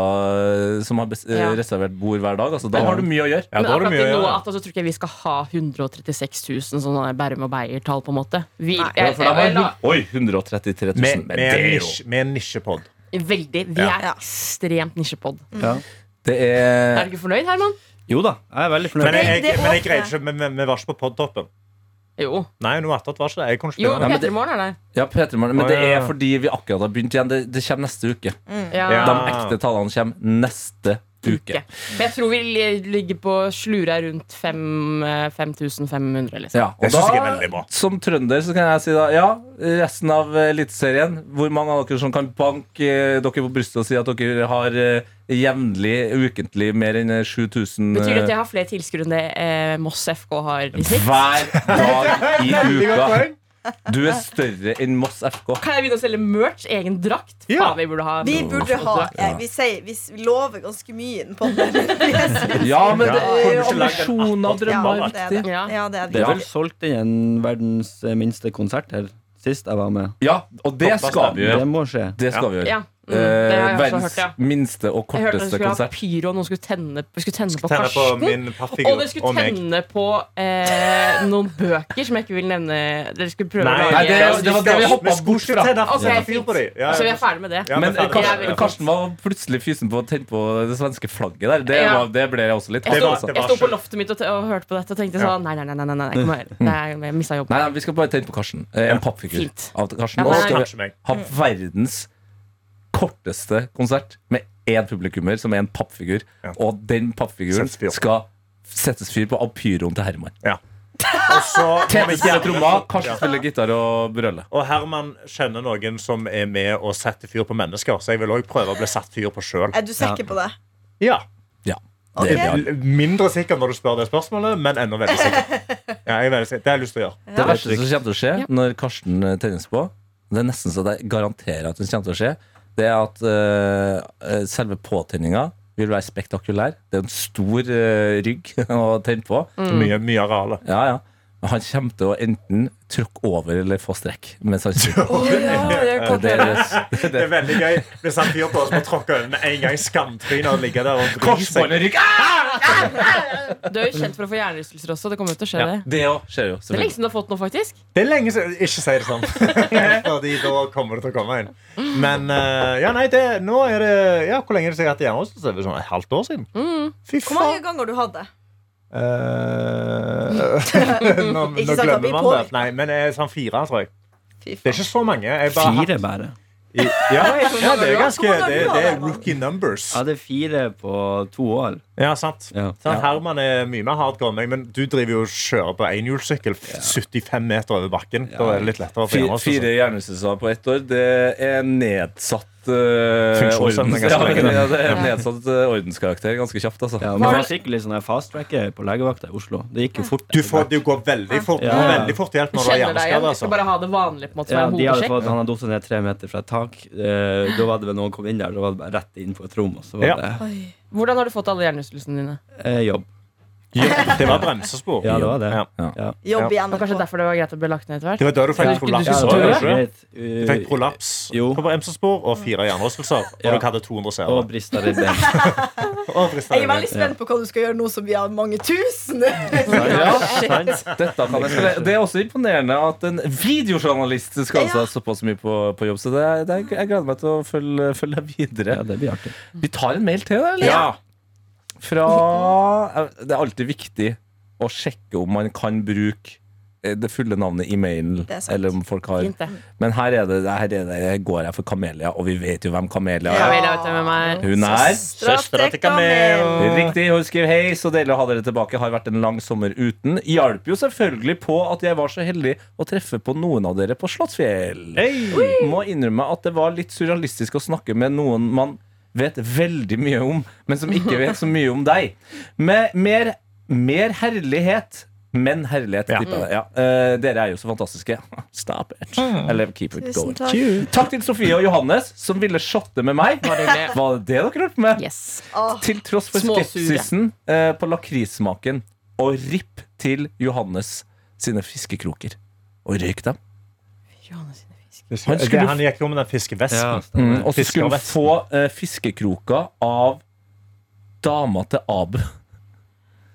Speaker 2: gjester som har bes-
Speaker 5: Ja.
Speaker 2: eh, reservert bord hver dag. Altså, da har du mye å gjøre.
Speaker 6: Ja,
Speaker 5: Men
Speaker 6: da er det
Speaker 5: akkurat
Speaker 6: mye
Speaker 5: i
Speaker 6: å gjøre.
Speaker 5: Noat altså, tror ikke jeg vi skal ha 136 000 sånne Bærum og Beyer-tall, på en måte. Vi,
Speaker 4: Nei.
Speaker 5: jeg,
Speaker 2: Ja, for da var
Speaker 5: jeg la-
Speaker 2: vi- Oi, 133 000.
Speaker 6: Med,
Speaker 2: Men
Speaker 6: med,
Speaker 2: det
Speaker 6: en
Speaker 2: er jo
Speaker 6: nisje- med en nisjepod.
Speaker 5: veldig. Vi
Speaker 6: Ja.
Speaker 5: er ekstremt nisjepod.
Speaker 3: Ja.
Speaker 2: Det
Speaker 5: Er
Speaker 2: er
Speaker 5: du ikke fornøyd, Herman?
Speaker 3: Jo da, jeg er veldig
Speaker 6: Men
Speaker 3: fornøyd.
Speaker 6: jeg, jeg,
Speaker 4: Det- det
Speaker 6: men jeg
Speaker 4: åpner.
Speaker 6: greide ikke, men- men vi var ikke på podtoppen.
Speaker 5: Jo.
Speaker 6: Nei, noe attåt var ikke det. Jeg kunne ikke
Speaker 5: Jo,
Speaker 6: gjøre det.
Speaker 2: men
Speaker 5: Peter Morgen er der.
Speaker 2: Ja, Peter, Morn, men
Speaker 6: Å,
Speaker 2: det
Speaker 6: ja, ja.
Speaker 2: er
Speaker 5: Mm.
Speaker 2: fordi vi akkurat har begynt igjen. Det, det kommer neste uke.
Speaker 5: Ja.
Speaker 6: Ja.
Speaker 2: De ekte tallene kommer neste uke. uke.
Speaker 5: Men jeg tror vi li- ligger på slura rundt fem, eh, 5500. Liksom.
Speaker 2: Ja, og
Speaker 6: Det synes jeg er
Speaker 2: da-
Speaker 6: veldig bra.
Speaker 2: Som trønder så kan jeg si da Ja, resten av eh, Eliteserien Hvor mange av dere som kan banke eh, dere på brystet Og si at dere har eh, jevnlig, ukentlig Mer enn eh, 7000
Speaker 5: Betyr det at
Speaker 2: eh,
Speaker 5: jeg har flere tilskuere enn det eh, Moss FK har i snitt?
Speaker 2: Hver dag i uka Du er større enn Moss FK
Speaker 5: Kan jeg begynne å selge merch? Egen drakt?
Speaker 6: Ja.
Speaker 5: Faen, vi burde ha
Speaker 4: Vi burde ha eh, Vi, sier, vi s- lover ganske mye inn på det.
Speaker 2: Ja, men det er
Speaker 6: Ja.
Speaker 2: ambisjoner og drømmer
Speaker 4: Ja, det er det.
Speaker 2: viktig.
Speaker 5: Ja.
Speaker 4: Ja, det er
Speaker 3: Det
Speaker 4: det.
Speaker 3: er vel solgt inn en verdens eh, minste konsert her sist jeg var med.
Speaker 2: Ja, og det skal vi gjøre
Speaker 3: Det må skje.
Speaker 2: Det skal vi gjøre
Speaker 5: Ja. Mm, det har
Speaker 2: Eh,
Speaker 5: jeg også
Speaker 2: Verdens
Speaker 5: hørt, ja.
Speaker 2: minste og
Speaker 5: Jeg hørte at dere
Speaker 2: korteste
Speaker 5: skulle ha
Speaker 2: konsert
Speaker 5: pyro, og noen skulle tenne, skulle tenne på
Speaker 6: Tenne på
Speaker 5: karsten.
Speaker 6: min
Speaker 5: og
Speaker 6: pappfigur
Speaker 5: dere skulle
Speaker 6: og meg.
Speaker 5: tenne på eh, noen bøker som jeg ikke vil nevne. Dere skulle prøve
Speaker 6: Nei,
Speaker 5: å
Speaker 2: Nei,
Speaker 5: lage
Speaker 2: det, det var det vi
Speaker 6: Vi
Speaker 2: hoppet
Speaker 6: skulle
Speaker 2: bort fra
Speaker 6: tenne
Speaker 5: Ok,
Speaker 6: fyr
Speaker 5: fint.
Speaker 6: på dem. Ja,
Speaker 5: Så vi
Speaker 6: ja.
Speaker 5: er ferdig med det.
Speaker 6: Ja,
Speaker 2: Men
Speaker 6: ferdig.
Speaker 2: Karsten,
Speaker 5: Jeg vil-
Speaker 2: Karsten var plutselig fysen på å tenne på det svenske flagget der. Det,
Speaker 5: Ja.
Speaker 2: var, det ble jeg også litt
Speaker 5: Jeg
Speaker 6: Det
Speaker 5: sto,
Speaker 6: var-
Speaker 2: altså.
Speaker 6: det
Speaker 5: jeg sto på
Speaker 6: skjønt.
Speaker 5: loftet mitt og, t og hørte på dette og tenkte
Speaker 6: Ja.
Speaker 5: sånn Nei, nei, nei, nei, nei, nei, nei, kom her. nei jeg mista
Speaker 2: Nei,
Speaker 5: jobben.
Speaker 2: nei, vi skal bare tenne på Karsten. Eh, En pappfigur
Speaker 5: Fint.
Speaker 2: av Karsten. Og
Speaker 5: Ja, nei,
Speaker 2: så skal vi
Speaker 6: Kanskje meg.
Speaker 2: ha verdens korteste konsert med én publikummer, som er en pappfigur.
Speaker 6: Ja.
Speaker 2: Og den pappfiguren
Speaker 6: Settes fyr på.
Speaker 2: skal settes fyr på av pyroen til Herman.
Speaker 6: Ja. Og så
Speaker 2: TV spiller trommer, Karsten
Speaker 6: Ja.
Speaker 2: spiller gitar og brøler.
Speaker 6: Og Herman kjenner noen som er med og setter fyr på mennesker, så jeg vil òg prøve å bli satt fyr på sjøl.
Speaker 4: Er du sikker på det?
Speaker 6: Ja.
Speaker 2: Ja.
Speaker 4: Ok.
Speaker 2: Det er bra.
Speaker 6: L- Mindre sikker når du spør det spørsmålet, men enda veldig sikker. Ja, jeg er veldig sikker. Det har jeg lyst til å gjøre.
Speaker 2: Det verste som kommer til å skje når Karsten eh, tennes på, det er nesten så jeg garanterer at det kommer til å skje, det er at eh, eh, selve påtenninga vil være spektakulær. Det er en stor eh, rygg å tenne på.
Speaker 5: Mm.
Speaker 4: Mm.
Speaker 6: Mye, mye areale.
Speaker 2: Ja, ja. Men Han kommer til å enten tråkke over eller få strekk. Mens han det er det.
Speaker 6: Det er veldig gøy. Bli satt fyr på og så tråkke over med en gang skamtrynet og ligge der og vri seg.
Speaker 2: Korsbåndet rykker! Ah!
Speaker 5: Du er jo kjent for å få hjernerystelser også. Det kommer jo til å skje,
Speaker 2: Ja,
Speaker 5: det.
Speaker 2: det òg skjer jo.
Speaker 5: Det er lenge
Speaker 2: selvfølgelig.
Speaker 5: siden du har fått noe, faktisk.
Speaker 6: Det er lenge siden Ikke si det sånn. Fordi da kommer det til å komme inn. Men eh, ja, nei, det, nå er det Ja, hvor lenge er det siden jeg har hatt hjernerystelse? Det er vel Sånn et halvt år siden?
Speaker 4: Mm.
Speaker 6: Fy
Speaker 4: Hvor mange
Speaker 6: faen.
Speaker 4: ganger har du hatt det?
Speaker 6: Eh, nå,
Speaker 4: Ikke
Speaker 6: nå
Speaker 4: sant, da
Speaker 6: glemmer
Speaker 4: blir
Speaker 6: man det.
Speaker 4: påvirket.
Speaker 6: Nei, men eh, sånn fire, tror jeg.
Speaker 4: Fy
Speaker 6: Det er
Speaker 4: faen.
Speaker 6: ikke så mange. Jeg bare har hatt-
Speaker 3: Fire, bare.
Speaker 6: I, ja, ja, det er jo ganske
Speaker 4: Hvor mange
Speaker 6: Det,
Speaker 4: har du
Speaker 6: det er
Speaker 4: hatt, da?
Speaker 6: rookie numbers.
Speaker 3: Ja, det er fire på to år.
Speaker 6: Ja, sant.
Speaker 3: Ja.
Speaker 6: sant. Herman er mye mer hardcore enn meg, men du driver jo og kjører på enhjulssykkel f- 75 meter over bakken. Da er det litt lettere å
Speaker 2: Fire,
Speaker 6: fjerne
Speaker 2: fire
Speaker 6: seg.
Speaker 2: hjernerystelser på ett år, det er nedsatt eh,
Speaker 6: Funksjonsevne,
Speaker 2: ordens- ja,
Speaker 6: ganske lenge.
Speaker 2: det er nedsatt eh, ordenskarakter ganske kjapt, altså.
Speaker 3: Ja, men jeg var skikkelig sånn fast-tracker på legevakta i Oslo. Det gikk jo fort.
Speaker 6: Du får det jo gå veldig fort,
Speaker 3: Ja.
Speaker 6: veldig fort hjelp når du har
Speaker 5: Kjenner deg igjen.
Speaker 6: hjerneskade.
Speaker 5: Vi skal
Speaker 6: Altså.
Speaker 5: bare ha det vanlige. på en måte som
Speaker 3: Ja,
Speaker 5: er en
Speaker 3: de hadde
Speaker 5: hodesjekk.
Speaker 3: fått, han hadde falt ned tre meter fra et tak. Eh, da var det vel noen kom inn der, da var det bare rett inn på et rom, og så var
Speaker 6: Ja.
Speaker 3: det
Speaker 4: Oi.
Speaker 5: Hvordan har du fått alle hjernerystelsene dine?
Speaker 3: eh, jobb.
Speaker 6: altså. Ja, det var bremsespor.
Speaker 3: Ja, det var det.
Speaker 6: Ja.
Speaker 3: Ja.
Speaker 4: Jobb i
Speaker 5: Det var kanskje
Speaker 4: NRK.
Speaker 5: derfor det var greit å bli lagt ned etter hvert?
Speaker 6: Det var da du fikk
Speaker 5: Ja.
Speaker 6: prolaps.
Speaker 5: Du
Speaker 3: Ja,
Speaker 6: også,
Speaker 5: skulle tørre.
Speaker 6: kanskje? Du fikk
Speaker 3: greit. Eh,
Speaker 6: prolaps
Speaker 3: Jo.
Speaker 6: på bremsespor og fire hjernerystelser. Og
Speaker 3: Ja.
Speaker 6: dere hadde 200
Speaker 3: Og
Speaker 6: seere.
Speaker 3: brista ribben.
Speaker 6: Og frista
Speaker 4: Jeg er
Speaker 6: dine.
Speaker 4: veldig spent på hva du skal gjøre nå som vi har mange tusen.
Speaker 2: Ja, Dette kan jeg skal, det er også imponerende at en videojournalist skal ha
Speaker 4: Ja.
Speaker 2: seg såpass mye på, på jobb. Så det er, det er, jeg gleder meg til å følge, følge deg videre.
Speaker 3: Ja, det blir artig.
Speaker 2: Vi tar en mail til, da? eller?
Speaker 4: Ja.
Speaker 2: Fra Det er alltid viktig å sjekke om man kan bruke eh, det fulle navnet i mailen.
Speaker 4: Det er sant.
Speaker 2: Eller om folk har
Speaker 5: Fint, det.
Speaker 2: Men her, er det, her er det, går jeg for Kamelia, og vi vet jo hvem Kamelia
Speaker 5: Ja,
Speaker 2: er.
Speaker 5: vel, jeg vet hvem jeg er.
Speaker 2: Hun er
Speaker 6: Søstera til Kamel.
Speaker 2: Riktig. Hun skriver hei, så deilig å ha dere tilbake. Har vært en lang sommer uten. Hjalp jo selvfølgelig på at jeg var så heldig å treffe på noen av dere på Slottsfjell.
Speaker 6: Hei!
Speaker 2: Må innrømme at det var litt surrealistisk å snakke med noen man vet veldig mye om, men som ikke vet så mye om deg. Med mer, mer herlighet. Men herlighet,
Speaker 6: Ja.
Speaker 2: tipper jeg. Ja. Eh, dere er jo så fantastiske. Stop it.
Speaker 6: Mm.
Speaker 2: Eller keep it
Speaker 4: Tusen
Speaker 2: going.
Speaker 4: takk.
Speaker 2: Takk til Sofie og Johannes, som ville shotte med meg. Var det det dere hjalp med?
Speaker 5: Yes.
Speaker 4: Åh,
Speaker 2: Til tross for
Speaker 5: Småsure.
Speaker 2: skepsisen eh, på lakrissmaken og ripp til Johannes sine fiskekroker. Og røyk dem. Han
Speaker 6: Han,
Speaker 2: skulle-
Speaker 6: han gikk jo med den fiskevesten.
Speaker 2: Mm, og så skulle han
Speaker 6: Fiskervesten.
Speaker 2: få eh, fiskekroker av dama til Abu.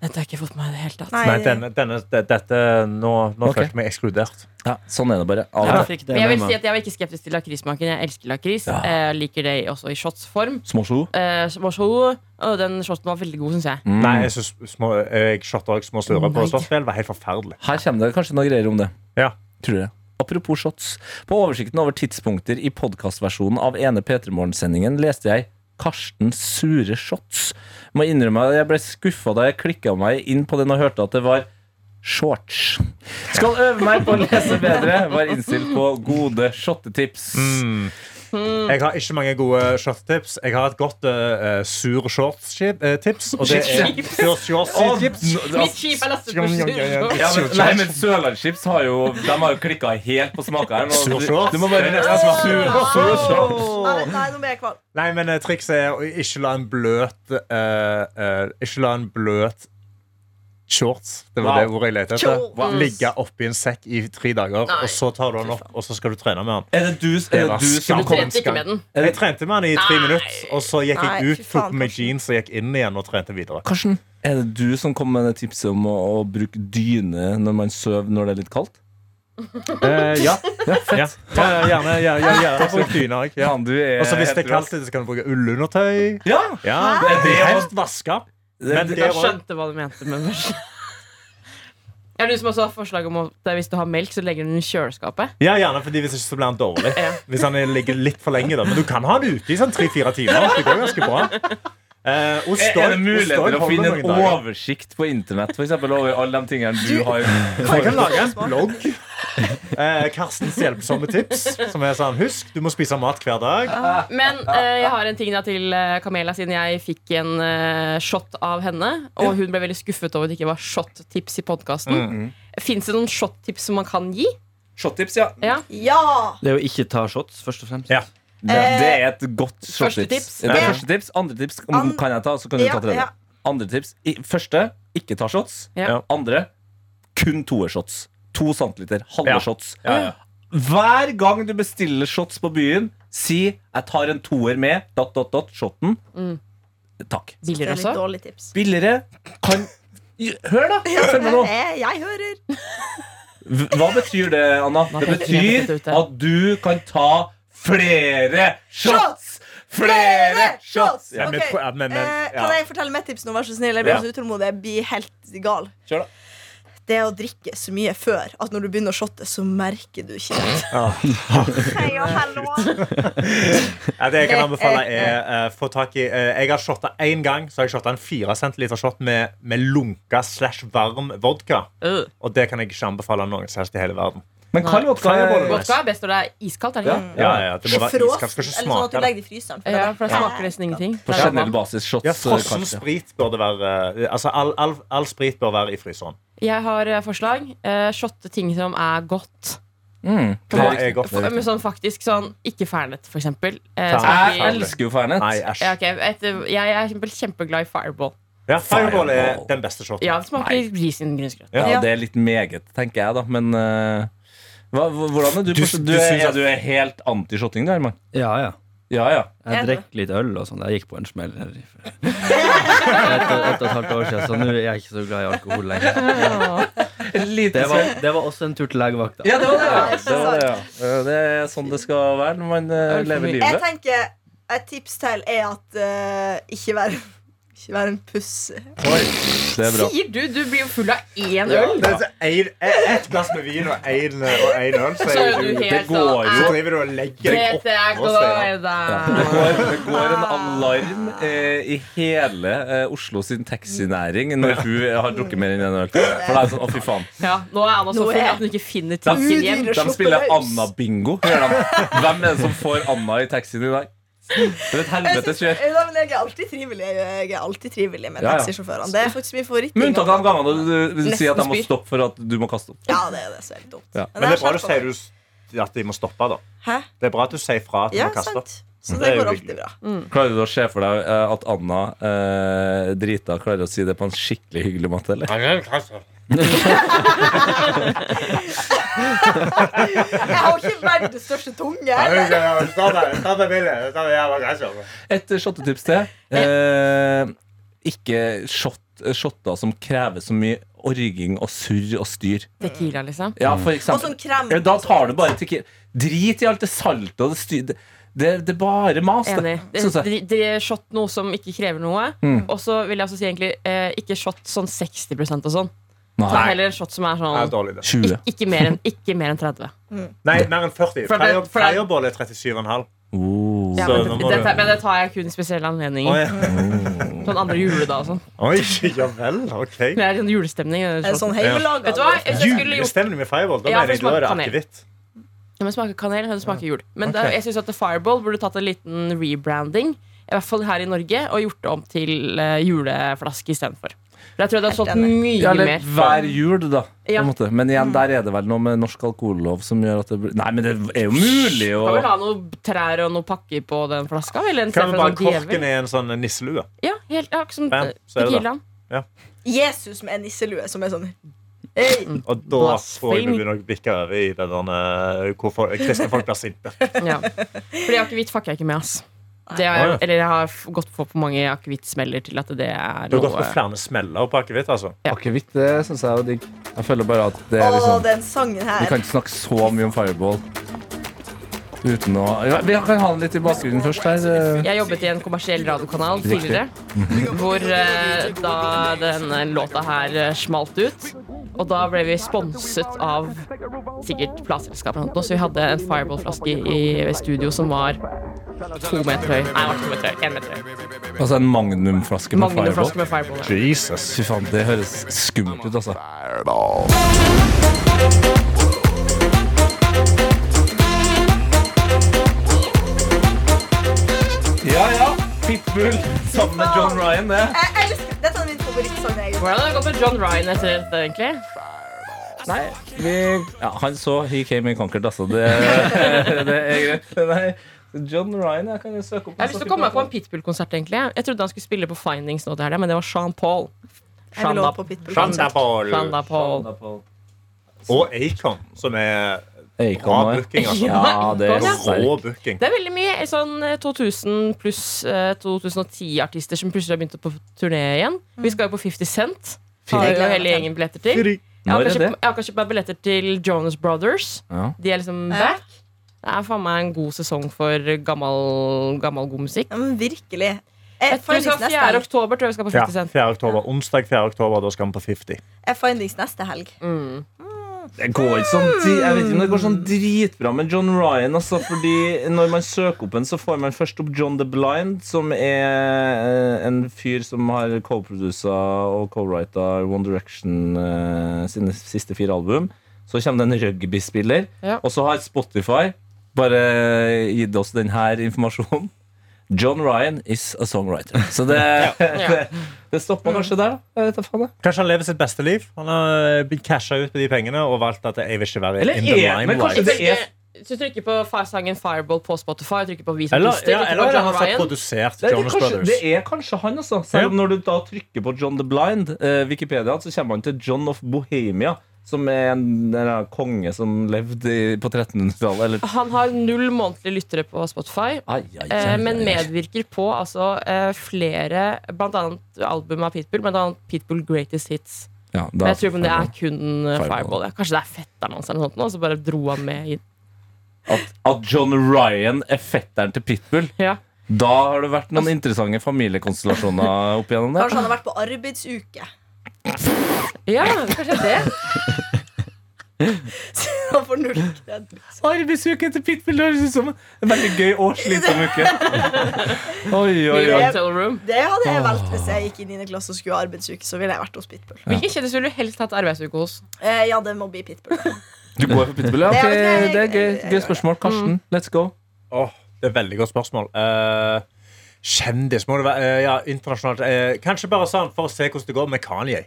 Speaker 5: Dette har jeg ikke fått med meg i det hele tatt.
Speaker 4: Nei, eh.
Speaker 6: Nei, denne, denne, det- dette Nå, nå
Speaker 2: Ok.
Speaker 6: følte jeg meg ekskludert.
Speaker 2: Ja, sånn er det bare.
Speaker 3: Jeg
Speaker 2: Av
Speaker 3: fikk det
Speaker 5: Men jeg
Speaker 3: med
Speaker 5: vil si
Speaker 3: meg.
Speaker 5: at jeg var ikke skeptisk til lakrismaken. Jeg elsker lakris.
Speaker 2: Ja.
Speaker 5: Eh, liker det også i shotsform.
Speaker 2: små sjo.
Speaker 5: Eh, som var så god, og den shoten var veldig god, syns jeg.
Speaker 2: Mm.
Speaker 6: Nei, jeg synes små, jeg shotta også små snurrer på
Speaker 5: Nei.
Speaker 6: Slottsfjell. var helt forferdelig.
Speaker 2: Her kommer det kanskje noen greier om det.
Speaker 6: Ja.
Speaker 2: Tror jeg. Apropos shots. På oversikten over tidspunkter i podkastversjonen av ene P3morgen-sendingen leste jeg Karsten sure shots. Må innrømme at jeg ble skuffa da jeg klikka meg inn på den og hørte at det var shorts. Skal øve meg på å lese bedre. Var innstilt på gode shottetips.
Speaker 6: Mm. Jeg har ikke mange gode eh, shorttips. Jeg har et godt eh, eh, sur shorts-tips. Og det er
Speaker 5: Shit.
Speaker 6: sur shorts-tips.
Speaker 5: Mitt skip er lastet på sjø.
Speaker 2: Ja, men, nei, men Sørlandschips har jo De har jo klikka helt på smakeren. og
Speaker 6: Sur
Speaker 2: du-
Speaker 6: shorts?
Speaker 2: Du må bare
Speaker 6: Det er nesten smart.
Speaker 2: Sur- sur shorts.
Speaker 4: Nei, nei, nå ble jeg kvalm.
Speaker 6: Nei, men eh, trikset er å ikke la en bløt eh, eh, Ikke la en bløt shorts Det
Speaker 2: Wow.
Speaker 6: var det ordet jeg lette etter.
Speaker 4: Shorts.
Speaker 6: Ligge oppi en sekk i tre dager, og så tar du den opp, og så skal du trene med den.
Speaker 2: Er det du, er det
Speaker 6: var
Speaker 2: du som
Speaker 6: skam.
Speaker 5: Du trente ikke med den.
Speaker 6: Jeg trente med den i tre minutter, og så gikk
Speaker 4: Nei,
Speaker 6: jeg
Speaker 4: fy
Speaker 6: ut,
Speaker 4: faen,
Speaker 6: tok på meg
Speaker 4: Karsten.
Speaker 6: jeans og gikk inn igjen og trente videre.
Speaker 2: Karsten, er det du som kom med det tipset om å, å bruke dyne når man sover når det er litt kaldt?
Speaker 6: Eh, ja. ja. ja, gjerne. Ja, ja, ja. Bruk dyne òg. Ja.
Speaker 2: du er
Speaker 6: Og så Altså, hvis det er kaldt, ute, så kan du bruke ullundertøy.
Speaker 2: Ja!
Speaker 6: Ja,
Speaker 2: Hæ?
Speaker 6: det er helst vaska. Men det
Speaker 5: Jeg
Speaker 6: var-
Speaker 5: skjønte hva du mente med mørk. Er det du som også har forslag om at hvis du har melk, så legger du den i kjøleskapet?
Speaker 6: Ja, gjerne, fordi Hvis ikke så blir han dårlig. Hvis han ligger litt for lenge da. Men du kan ha det ute i sånn tre-fire timer. Det går ganske bra. Eh, ost
Speaker 2: Er det
Speaker 6: også-
Speaker 2: muligheter
Speaker 6: ost også
Speaker 2: til å
Speaker 6: holder
Speaker 2: finne
Speaker 6: noen
Speaker 2: en
Speaker 6: dager.
Speaker 2: oversikt på internett for eksempel, over alle de tingene du har
Speaker 6: Jeg kan lage en blogg. Eh, Karstens hjelpsomme tips. Som er sånn, Husk, du må spise mat
Speaker 2: Ah.
Speaker 6: hver dag.
Speaker 5: Men eh, jeg har en ting da til eh, Camilla, siden jeg fikk en eh, shot av henne. Og hun ble veldig skuffet over at det ikke var shot-tips i podkasten.
Speaker 6: Mm,
Speaker 5: Fins det noen shot-tips som man kan gi?
Speaker 2: Shottips, ja.
Speaker 5: Ja.
Speaker 4: Ja!
Speaker 3: Det er å ikke ta shots, først og fremst.
Speaker 6: Ja.
Speaker 2: Det er et godt
Speaker 5: Første
Speaker 2: shottips.
Speaker 5: tips.
Speaker 2: Det er
Speaker 4: Ja.
Speaker 2: første tips. Andre tips
Speaker 4: An-
Speaker 2: kan jeg ta, så kan du
Speaker 4: Ja,
Speaker 2: ta tredje.
Speaker 4: ja.
Speaker 2: Andre tips. I- Første ikke ta shots.
Speaker 5: Ja.
Speaker 2: Andre kun toershots. To centiliter, halve
Speaker 6: Ja.
Speaker 2: shots.
Speaker 6: Ja, ja.
Speaker 2: Hver gang du bestiller shots på byen, si 'jeg tar en toer med' dot, dot, dot, shoten.
Speaker 5: Mm.
Speaker 2: Takk.
Speaker 4: Det
Speaker 5: Billigere
Speaker 4: er litt
Speaker 5: også?
Speaker 4: dårlig tips.
Speaker 2: Billigere kan Hør, da! Følg med nå.
Speaker 4: Jeg, jeg hører.
Speaker 2: Hva betyr det, Anna?
Speaker 5: Nå
Speaker 2: Det
Speaker 5: tenker jeg
Speaker 2: betyr
Speaker 5: litt ute.
Speaker 2: at du kan ta flere shots! Flere shots!
Speaker 6: Ja, men-
Speaker 4: Ok,
Speaker 6: ja, men- men-
Speaker 4: eh,
Speaker 6: ja.
Speaker 4: Kan jeg fortelle mitt tips nå, vær så snill? Jeg blir
Speaker 6: Ja.
Speaker 4: så utålmodig. Jeg blir helt gal.
Speaker 2: Kjør da.
Speaker 4: Det å drikke så mye før at når du begynner å shotte, så merker du ikke det. Hei og hallo.
Speaker 6: Ja, det jeg kan anbefale, er eh, få tak i eh, Jeg har shotta én gang, så har jeg shotta en 4 cm shot med, med lunka slash varm vodka.
Speaker 5: Øh.
Speaker 6: Og det kan jeg ikke anbefale noen som helst i hele verden.
Speaker 2: Men kald vodka er
Speaker 5: Vodka er best når det er iskaldt. er det ikke?
Speaker 6: Ja, ja, det må
Speaker 4: Ikke
Speaker 6: være iskaldt.
Speaker 4: frossen,
Speaker 6: Skal
Speaker 4: eller
Speaker 6: ikke
Speaker 4: sånn at du
Speaker 6: smake det.
Speaker 4: legger det i fryseren. for
Speaker 5: Ja,
Speaker 4: det-
Speaker 5: for da smaker nesten ingenning.
Speaker 2: På
Speaker 5: Det er
Speaker 2: generell
Speaker 5: vann.
Speaker 2: basis shots. eh,
Speaker 6: Ja, Frossen
Speaker 2: kanskje.
Speaker 6: sprit burde være Altså, all, all, all sprit bør være i fryseren.
Speaker 5: Jeg har eh, forslag. Eh, Shotte ting som er godt.
Speaker 2: Mm.
Speaker 6: Det er godt.
Speaker 5: F- Men sånn faktisk sånn ikke fernet, for eksempel. Eh,
Speaker 6: Fernet.
Speaker 5: sånn at
Speaker 2: Jeg
Speaker 5: vi-
Speaker 6: Fernet.
Speaker 2: elsker jo Fernet.
Speaker 6: Nei, æsj.
Speaker 5: Ja, ok, et, jeg er eksempel kjempeglad i fireball.
Speaker 6: Ja, fireball er den beste shoten.
Speaker 5: Ja, det smaker ris i grønnsgrøt.
Speaker 2: Ja,
Speaker 4: Ja.
Speaker 2: det er litt meget, tenker jeg, da. Men eh, hva, hva- hvordan er du?
Speaker 6: Du-
Speaker 2: på-
Speaker 6: du
Speaker 2: du, er,
Speaker 6: synes at-
Speaker 2: du er helt anti-shotting, du, Herman.
Speaker 3: Ja, ja.
Speaker 2: Ja, ja.
Speaker 4: Er
Speaker 3: Jeg
Speaker 4: det?
Speaker 3: drekk litt øl og sånn. Jeg gikk på en smell her i- for et, og- et og et halvt år siden, så nå er jeg ikke så glad i alkohol lenger. Det var, det var også en tur til legevakta.
Speaker 2: Ja, det var det.
Speaker 4: Ja,
Speaker 2: Ja.
Speaker 4: ikke
Speaker 2: Det, var det, ja. Eh, det er sånn det skal være når man eh,
Speaker 5: Er det for
Speaker 2: lever
Speaker 5: mye?
Speaker 4: Jeg
Speaker 2: livet.
Speaker 4: tenker Et tips til er at eh, ikke vær ikke vær en pussy.
Speaker 2: Det er bra.
Speaker 5: Sier du? Du blir jo full av én
Speaker 6: Ja,
Speaker 5: øl.
Speaker 6: det er så en- e- Ett glass med vin og én øl, så
Speaker 5: Så
Speaker 6: er
Speaker 5: er
Speaker 6: du
Speaker 5: du
Speaker 6: ute.
Speaker 5: helt
Speaker 2: går
Speaker 5: sånn,
Speaker 2: jo.
Speaker 6: Så driver du og legger deg
Speaker 5: Dette er
Speaker 6: oppå stedet.
Speaker 2: Det
Speaker 5: glede.
Speaker 2: går, det går en alarm eh, i hele eh, Oslo sin taxinæring når hun eh, har drukket mer enn en øl. For da er det sånn, å fy faen
Speaker 5: Ja, nå er Anna så
Speaker 4: Nå er-
Speaker 5: full at hun ikke finner
Speaker 2: De,
Speaker 5: til sin hjem.
Speaker 4: Udyre
Speaker 2: de spiller
Speaker 4: slått løs.
Speaker 2: Anna-bingo. hører de. Hvem er det som får Anna i taxien i dag? Det er et helvetes kjør.
Speaker 4: Ja, men jeg er alltid trivelig Jeg er alltid trivelig med
Speaker 2: Ja, ja.
Speaker 4: taxisjåførene. Det er faktisk min favoritt.
Speaker 2: Med unntak av de gangene du, du, du
Speaker 5: Nesten
Speaker 2: sier at de må
Speaker 5: spyr.
Speaker 2: stoppe for at du må kaste opp.
Speaker 4: Ja, det er det så er det dumt.
Speaker 2: Ja.
Speaker 6: Men det er bra du
Speaker 4: skjerper
Speaker 6: sier
Speaker 4: meg.
Speaker 6: du s- at de må stoppe, da.
Speaker 4: Hæ?
Speaker 6: Det er bra at du sier fra at de
Speaker 4: Ja,
Speaker 6: må kaste opp.
Speaker 4: sant. Så
Speaker 6: Det
Speaker 4: det
Speaker 6: er jo
Speaker 4: går
Speaker 6: hyggelig.
Speaker 4: alltid bra.
Speaker 2: Klarer du å se for deg eh, at Anna eh, drita klarer å si det på en skikkelig hyggelig måte? eller?
Speaker 4: Jeg har ikke verdens største tunge.
Speaker 2: Et eh, shottetips til. Eh, ikke shot, shotter som krever så mye orging og surr og styr.
Speaker 5: Tequila, liksom.
Speaker 2: Ja, for
Speaker 4: Og
Speaker 2: eksempel.
Speaker 4: sånn krem.
Speaker 2: Ja, Da tar du bare tequila. Drit i alt det salte og det styr. Det, det, det er bare mas. det.
Speaker 5: Enig. Det-
Speaker 2: Synes jeg.
Speaker 5: det- det er Shot noe som ikke krever noe. Og så vil jeg også si egentlig eh, ikke shot sånn 60 og sånn. Ta
Speaker 2: Nei.
Speaker 5: heller en shot som er
Speaker 6: Det er
Speaker 5: sånn
Speaker 6: dårlig, det.
Speaker 2: 20.
Speaker 5: ik- ikke mer enn, ikke mer enn 30.
Speaker 6: Nei, mer enn 40.
Speaker 5: For det-
Speaker 6: Fire-
Speaker 5: for det-
Speaker 6: Fireball er 37,5.
Speaker 2: Oh.
Speaker 5: Ja,
Speaker 6: Så
Speaker 5: men,
Speaker 6: nå
Speaker 5: det,
Speaker 6: må
Speaker 5: dette,
Speaker 6: du-
Speaker 5: men det tar jeg kun i spesielle
Speaker 6: Å,
Speaker 5: anledninger.
Speaker 6: ja.
Speaker 5: Sånn andre juledag og sånn.
Speaker 6: Oi, ja vel. OK.
Speaker 5: Det er sånn julestemning.
Speaker 4: Er det sånn
Speaker 5: Vet du hva?
Speaker 4: hjemmelaga?
Speaker 5: Hvis jeg skulle gjort
Speaker 6: Julestemning med fireball. Da
Speaker 5: Ja,
Speaker 6: mener
Speaker 5: for
Speaker 6: jeg
Speaker 5: det
Speaker 6: da er det
Speaker 5: smaker kanel.
Speaker 6: akevitt.
Speaker 5: Ja, men smaker kanel, det smaker jul. Men da-
Speaker 6: Ok.
Speaker 5: jeg synes at The Fireball burde tatt en liten rebranding, i hvert fall her i Norge, og gjort det om til eh, juleflaske istedenfor. For jeg tror det hadde
Speaker 4: Helt
Speaker 5: solgt
Speaker 4: enig.
Speaker 5: mye
Speaker 2: Ja, eller
Speaker 5: mer.
Speaker 2: hver jul, da. På
Speaker 5: Ja. Mm.
Speaker 2: en måte. Men igjen, der er det vel noe med norsk alkohollov som gjør at det blir Nei, men det er jo mulig å
Speaker 5: Kan vel ha noen trær og noen pakker på den flaska? Eller en
Speaker 6: Kan vi
Speaker 5: istedenfor
Speaker 6: bare
Speaker 5: en sånn
Speaker 6: korken
Speaker 5: djevel?
Speaker 6: i en sånn nisselue?
Speaker 5: Ja, helt, ja, ikke sånn, eh, som
Speaker 6: Bam, så er det da.
Speaker 5: Tequilaen.
Speaker 4: Jesus med en nisselue som er sånn hey.
Speaker 6: Og da tror jeg vi
Speaker 5: Blasfemi.
Speaker 6: begynner å bikke over i det der eh, hvor for- kristne folk blir sinte.
Speaker 5: Ja. Fordi akevitt fucker jeg ikke med, ass. Det har,
Speaker 6: Å, ja.
Speaker 5: jeg- Eller jeg har f- gått på for mange akevittsmeller til at det er
Speaker 6: Du har gått på
Speaker 5: noe
Speaker 6: flere smeller på akevitt, altså.
Speaker 2: Akevitt, det syns jeg er jo digg. Jeg føler bare at det
Speaker 4: Å,
Speaker 2: er liksom
Speaker 4: den
Speaker 2: Vi
Speaker 4: sangen her.
Speaker 2: kan ikke snakke så mye om fireball uten å ja, Vi kan ha den litt i bakgrunnen først her. eh.
Speaker 5: Jeg jobbet i en kommersiell radiokanal tidligere, hvor eh, da denne låta her eh, smalt ut. Og da ble vi sponset av sikkert plateselskapet. Så vi hadde en Fireball-flaske i i studio som var to meter høy. Nei, den var ikke to meter høy. En meter høy.
Speaker 2: Altså en magnumflaske med
Speaker 5: Mange
Speaker 2: fireball.
Speaker 5: flasker med Fireball. ja.
Speaker 6: Jesus.
Speaker 2: Fy faen, det høres skummelt ut, altså. Ja, ja. Pitbull sammen med John Ryan, det.
Speaker 4: Jeg elsker Dette er min favorittsang. jeg gjør.
Speaker 5: Hvordan har det gått med John Ryan etter dette, egentlig?
Speaker 2: Nei, vi ja, Han så He Came In Conquered, altså. Det, det er greit. Nei, John Ryan jeg kan jo søke opp.
Speaker 5: Jeg har lyst til å komme meg på en Pitbull-konsert, egentlig. Jeg trodde han skulle spille på Findings nå til helga, men det var Sean Paul.
Speaker 4: Jeg vil
Speaker 5: Shanda-
Speaker 4: over på Pitbull.
Speaker 6: Shanda Paul
Speaker 5: Shanda Paul.
Speaker 6: og Acon, som er bra
Speaker 2: Acon òg.
Speaker 6: booking. Altså.
Speaker 2: Ja, det er
Speaker 5: Ja.
Speaker 6: Rå
Speaker 2: sterkt.
Speaker 6: booking.
Speaker 5: Det er veldig mye eh, sånn eh, 2000 pluss eh, 2010-artister som plutselig har begynt på turné igjen. Vi skal jo på 50 Cent. Har
Speaker 4: Jeg
Speaker 5: jo
Speaker 4: gleder meg
Speaker 5: hele
Speaker 4: til.
Speaker 5: gjengen billetter til. Jeg har
Speaker 2: Når er
Speaker 5: kanskje,
Speaker 2: det?
Speaker 5: jeg har kanskje bare billetter til Jonas Brothers.
Speaker 2: Ja.
Speaker 5: De er liksom
Speaker 4: Ja.
Speaker 5: back. Det er faen meg en god sesong for gammel, gammel god musikk.
Speaker 4: Ja, men virkelig.
Speaker 5: Jeg
Speaker 4: Jeg,
Speaker 5: tror vi skal
Speaker 4: findings
Speaker 5: 4.
Speaker 4: neste helg.
Speaker 5: oktober tror jeg vi skal på
Speaker 6: Ja,
Speaker 5: 50 Cent.
Speaker 6: 4. Oktober. Onsdag 4. oktober, da skal vi på 50.
Speaker 4: jeg findings neste helg.
Speaker 5: Mm.
Speaker 2: Det går ikke sånn, dri- jeg vet ikke om det går sånn dritbra med John Ryan. Altså, fordi Når man søker opp en, så får man først opp John the Blind, som er eh, en fyr som har co-produsa og co-writa One Direction eh, sine siste fire album. Så kommer det en rugbyspiller,
Speaker 5: Ja.
Speaker 2: og så har Spotify bare eh, gitt oss denne informasjonen. John Ryan is a songwriter. Så det, det, det stopper kanskje der, da. Jeg vet da faen. jeg.
Speaker 6: Kanskje han lever sitt beste liv? Han har eh, blitt casha ut på de pengene og valgt at jeg vil ikke være
Speaker 2: Eller
Speaker 6: in the
Speaker 2: er- men kanskje
Speaker 6: limelight.
Speaker 2: det er
Speaker 5: Hvis du trykker på fa- sangen Fireball på Spotify, trykker på Vis
Speaker 6: Eller,
Speaker 5: artister,
Speaker 6: ja,
Speaker 5: trykker
Speaker 6: eller er
Speaker 5: på
Speaker 6: det
Speaker 5: John
Speaker 6: han som har
Speaker 5: Ryan
Speaker 6: produsert
Speaker 2: Det, det,
Speaker 6: Jonas
Speaker 2: kanskje, det
Speaker 6: Brothers?
Speaker 2: er kanskje han, altså. Selv om
Speaker 6: Ja.
Speaker 2: når du da trykker på John the Blind, eh, Wikipedia, så kommer han til John of Bohemia, som er en, en eller annen konge som levde i, på 1300-tallet, eller
Speaker 5: Han har null månedlige lyttere på Spotify.
Speaker 2: Ai, ai, ai,
Speaker 5: Eh, men
Speaker 2: ai, ai.
Speaker 5: medvirker på altså, eh, flere, blant annet album av Pitbull, blant annet Pitbull Greatest Hits.
Speaker 2: Ja,
Speaker 5: Men
Speaker 2: da-
Speaker 5: jeg tror det er kun eh,
Speaker 2: Fireball.
Speaker 5: Fireball. Ja. Kanskje det er fetteren hans, eller noe sånt, nå, så bare dro han med inn.
Speaker 2: at, at John Ryan er fetteren til Pitbull.
Speaker 5: Ja.
Speaker 2: Da har det vært
Speaker 5: Altså-
Speaker 2: noen interessante familiekonstellasjoner opp igjennom det.
Speaker 4: Kanskje han har vært på arbeidsuke.
Speaker 5: ja, kanskje det.
Speaker 4: Han får null kred.
Speaker 2: Arbeidsuke til Pitbull det høres ut som en veldig gøy og slitsom uke. Oi, oi,
Speaker 5: New
Speaker 2: oi.
Speaker 5: Hotel Room.
Speaker 4: Det hadde jeg valgt hvis jeg gikk i 9. klasse og skulle ha arbeidsuke. Så ville jeg vært hos Pitbull.
Speaker 5: Hvilken kjendis ville du helst hatt arbeidsuke hos?
Speaker 4: Eh, ja, det må bli Pitbull.
Speaker 2: Du går for Pitbull, ja.
Speaker 4: Det er-
Speaker 2: ok, det er gøy,
Speaker 4: det er-
Speaker 2: gøy
Speaker 5: Mm.
Speaker 2: spørsmål. Karsten, let's go.
Speaker 6: Åh, det er et veldig godt spørsmål. Eh, kjendis må det være. eh, ja, internasjonalt. eh, kanskje bare sånn for å se hvordan det går med Kanye.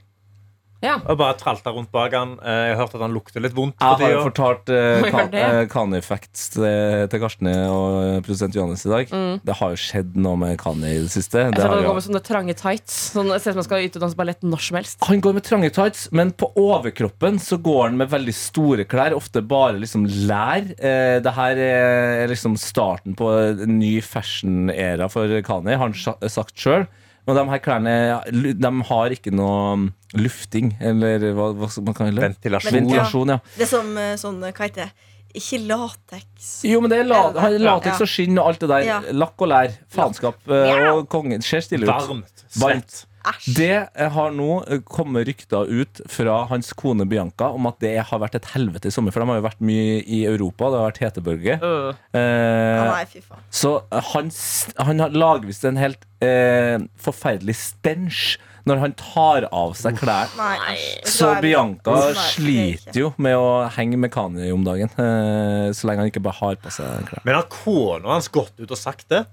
Speaker 5: Ja.
Speaker 6: Og bare tralta rundt bak han. Eh, jeg har hørt at han lukter litt vondt. på
Speaker 2: Jeg har
Speaker 6: tida.
Speaker 2: jo fortalt uh,
Speaker 5: Hva gjør det?
Speaker 2: Kanye Facts til, til Karsten og eh, produsent Johannes i dag. Det har jo skjedd noe med Kanye i det siste.
Speaker 5: Mm. Jeg
Speaker 2: Det
Speaker 5: ser at
Speaker 2: har
Speaker 5: han
Speaker 2: jo-
Speaker 5: går med sånne trange tights. Sånn, ser ut som han skal ut og danse ballett når som helst.
Speaker 2: han går med trange tights, men på overkroppen så går han med veldig store klær. Ofte bare liksom lær. Eh, det her er liksom starten på en ny fashion-æra for Kanye, har han sja- sagt sjøl. Og de her klærne lu- de har ikke noe lufting, eller hva, hva skal man kalle det?
Speaker 6: Ventilasjon.
Speaker 2: Ventilasjon, ja.
Speaker 4: Det er som eh, sånn, eh, hva heter det? Ikke lateks.
Speaker 2: Jo, men det er la
Speaker 4: Eller-
Speaker 2: han- lateks
Speaker 4: Ja.
Speaker 2: og skinn og alt det der.
Speaker 4: Ja.
Speaker 2: Lakk og lær. Faenskap. eh, Og kongen ser stille ut.
Speaker 6: Varmt. Svett.
Speaker 2: Varmt.
Speaker 4: Æsj.
Speaker 2: Det har nå eh, kommet rykter ut fra hans kone Bianca om at det har vært et helvete i sommer. For de har jo vært mye i Europa. Det har vært hetebølge.
Speaker 5: Øh.
Speaker 4: Ja,
Speaker 2: Eh,
Speaker 4: nei, fy faen.
Speaker 2: så han, s- han har lagvis en helt eh, forferdelig stensj når han tar av seg klær.
Speaker 4: Nei, æsj.
Speaker 2: Så
Speaker 4: Da er vi-
Speaker 2: Bianca
Speaker 4: Nei, det er ikke.
Speaker 2: sliter jo med å henge med Kanye om dagen. Eh, så lenge han ikke bare har på seg klær.
Speaker 6: Men har kona hans gått ut og sagt det?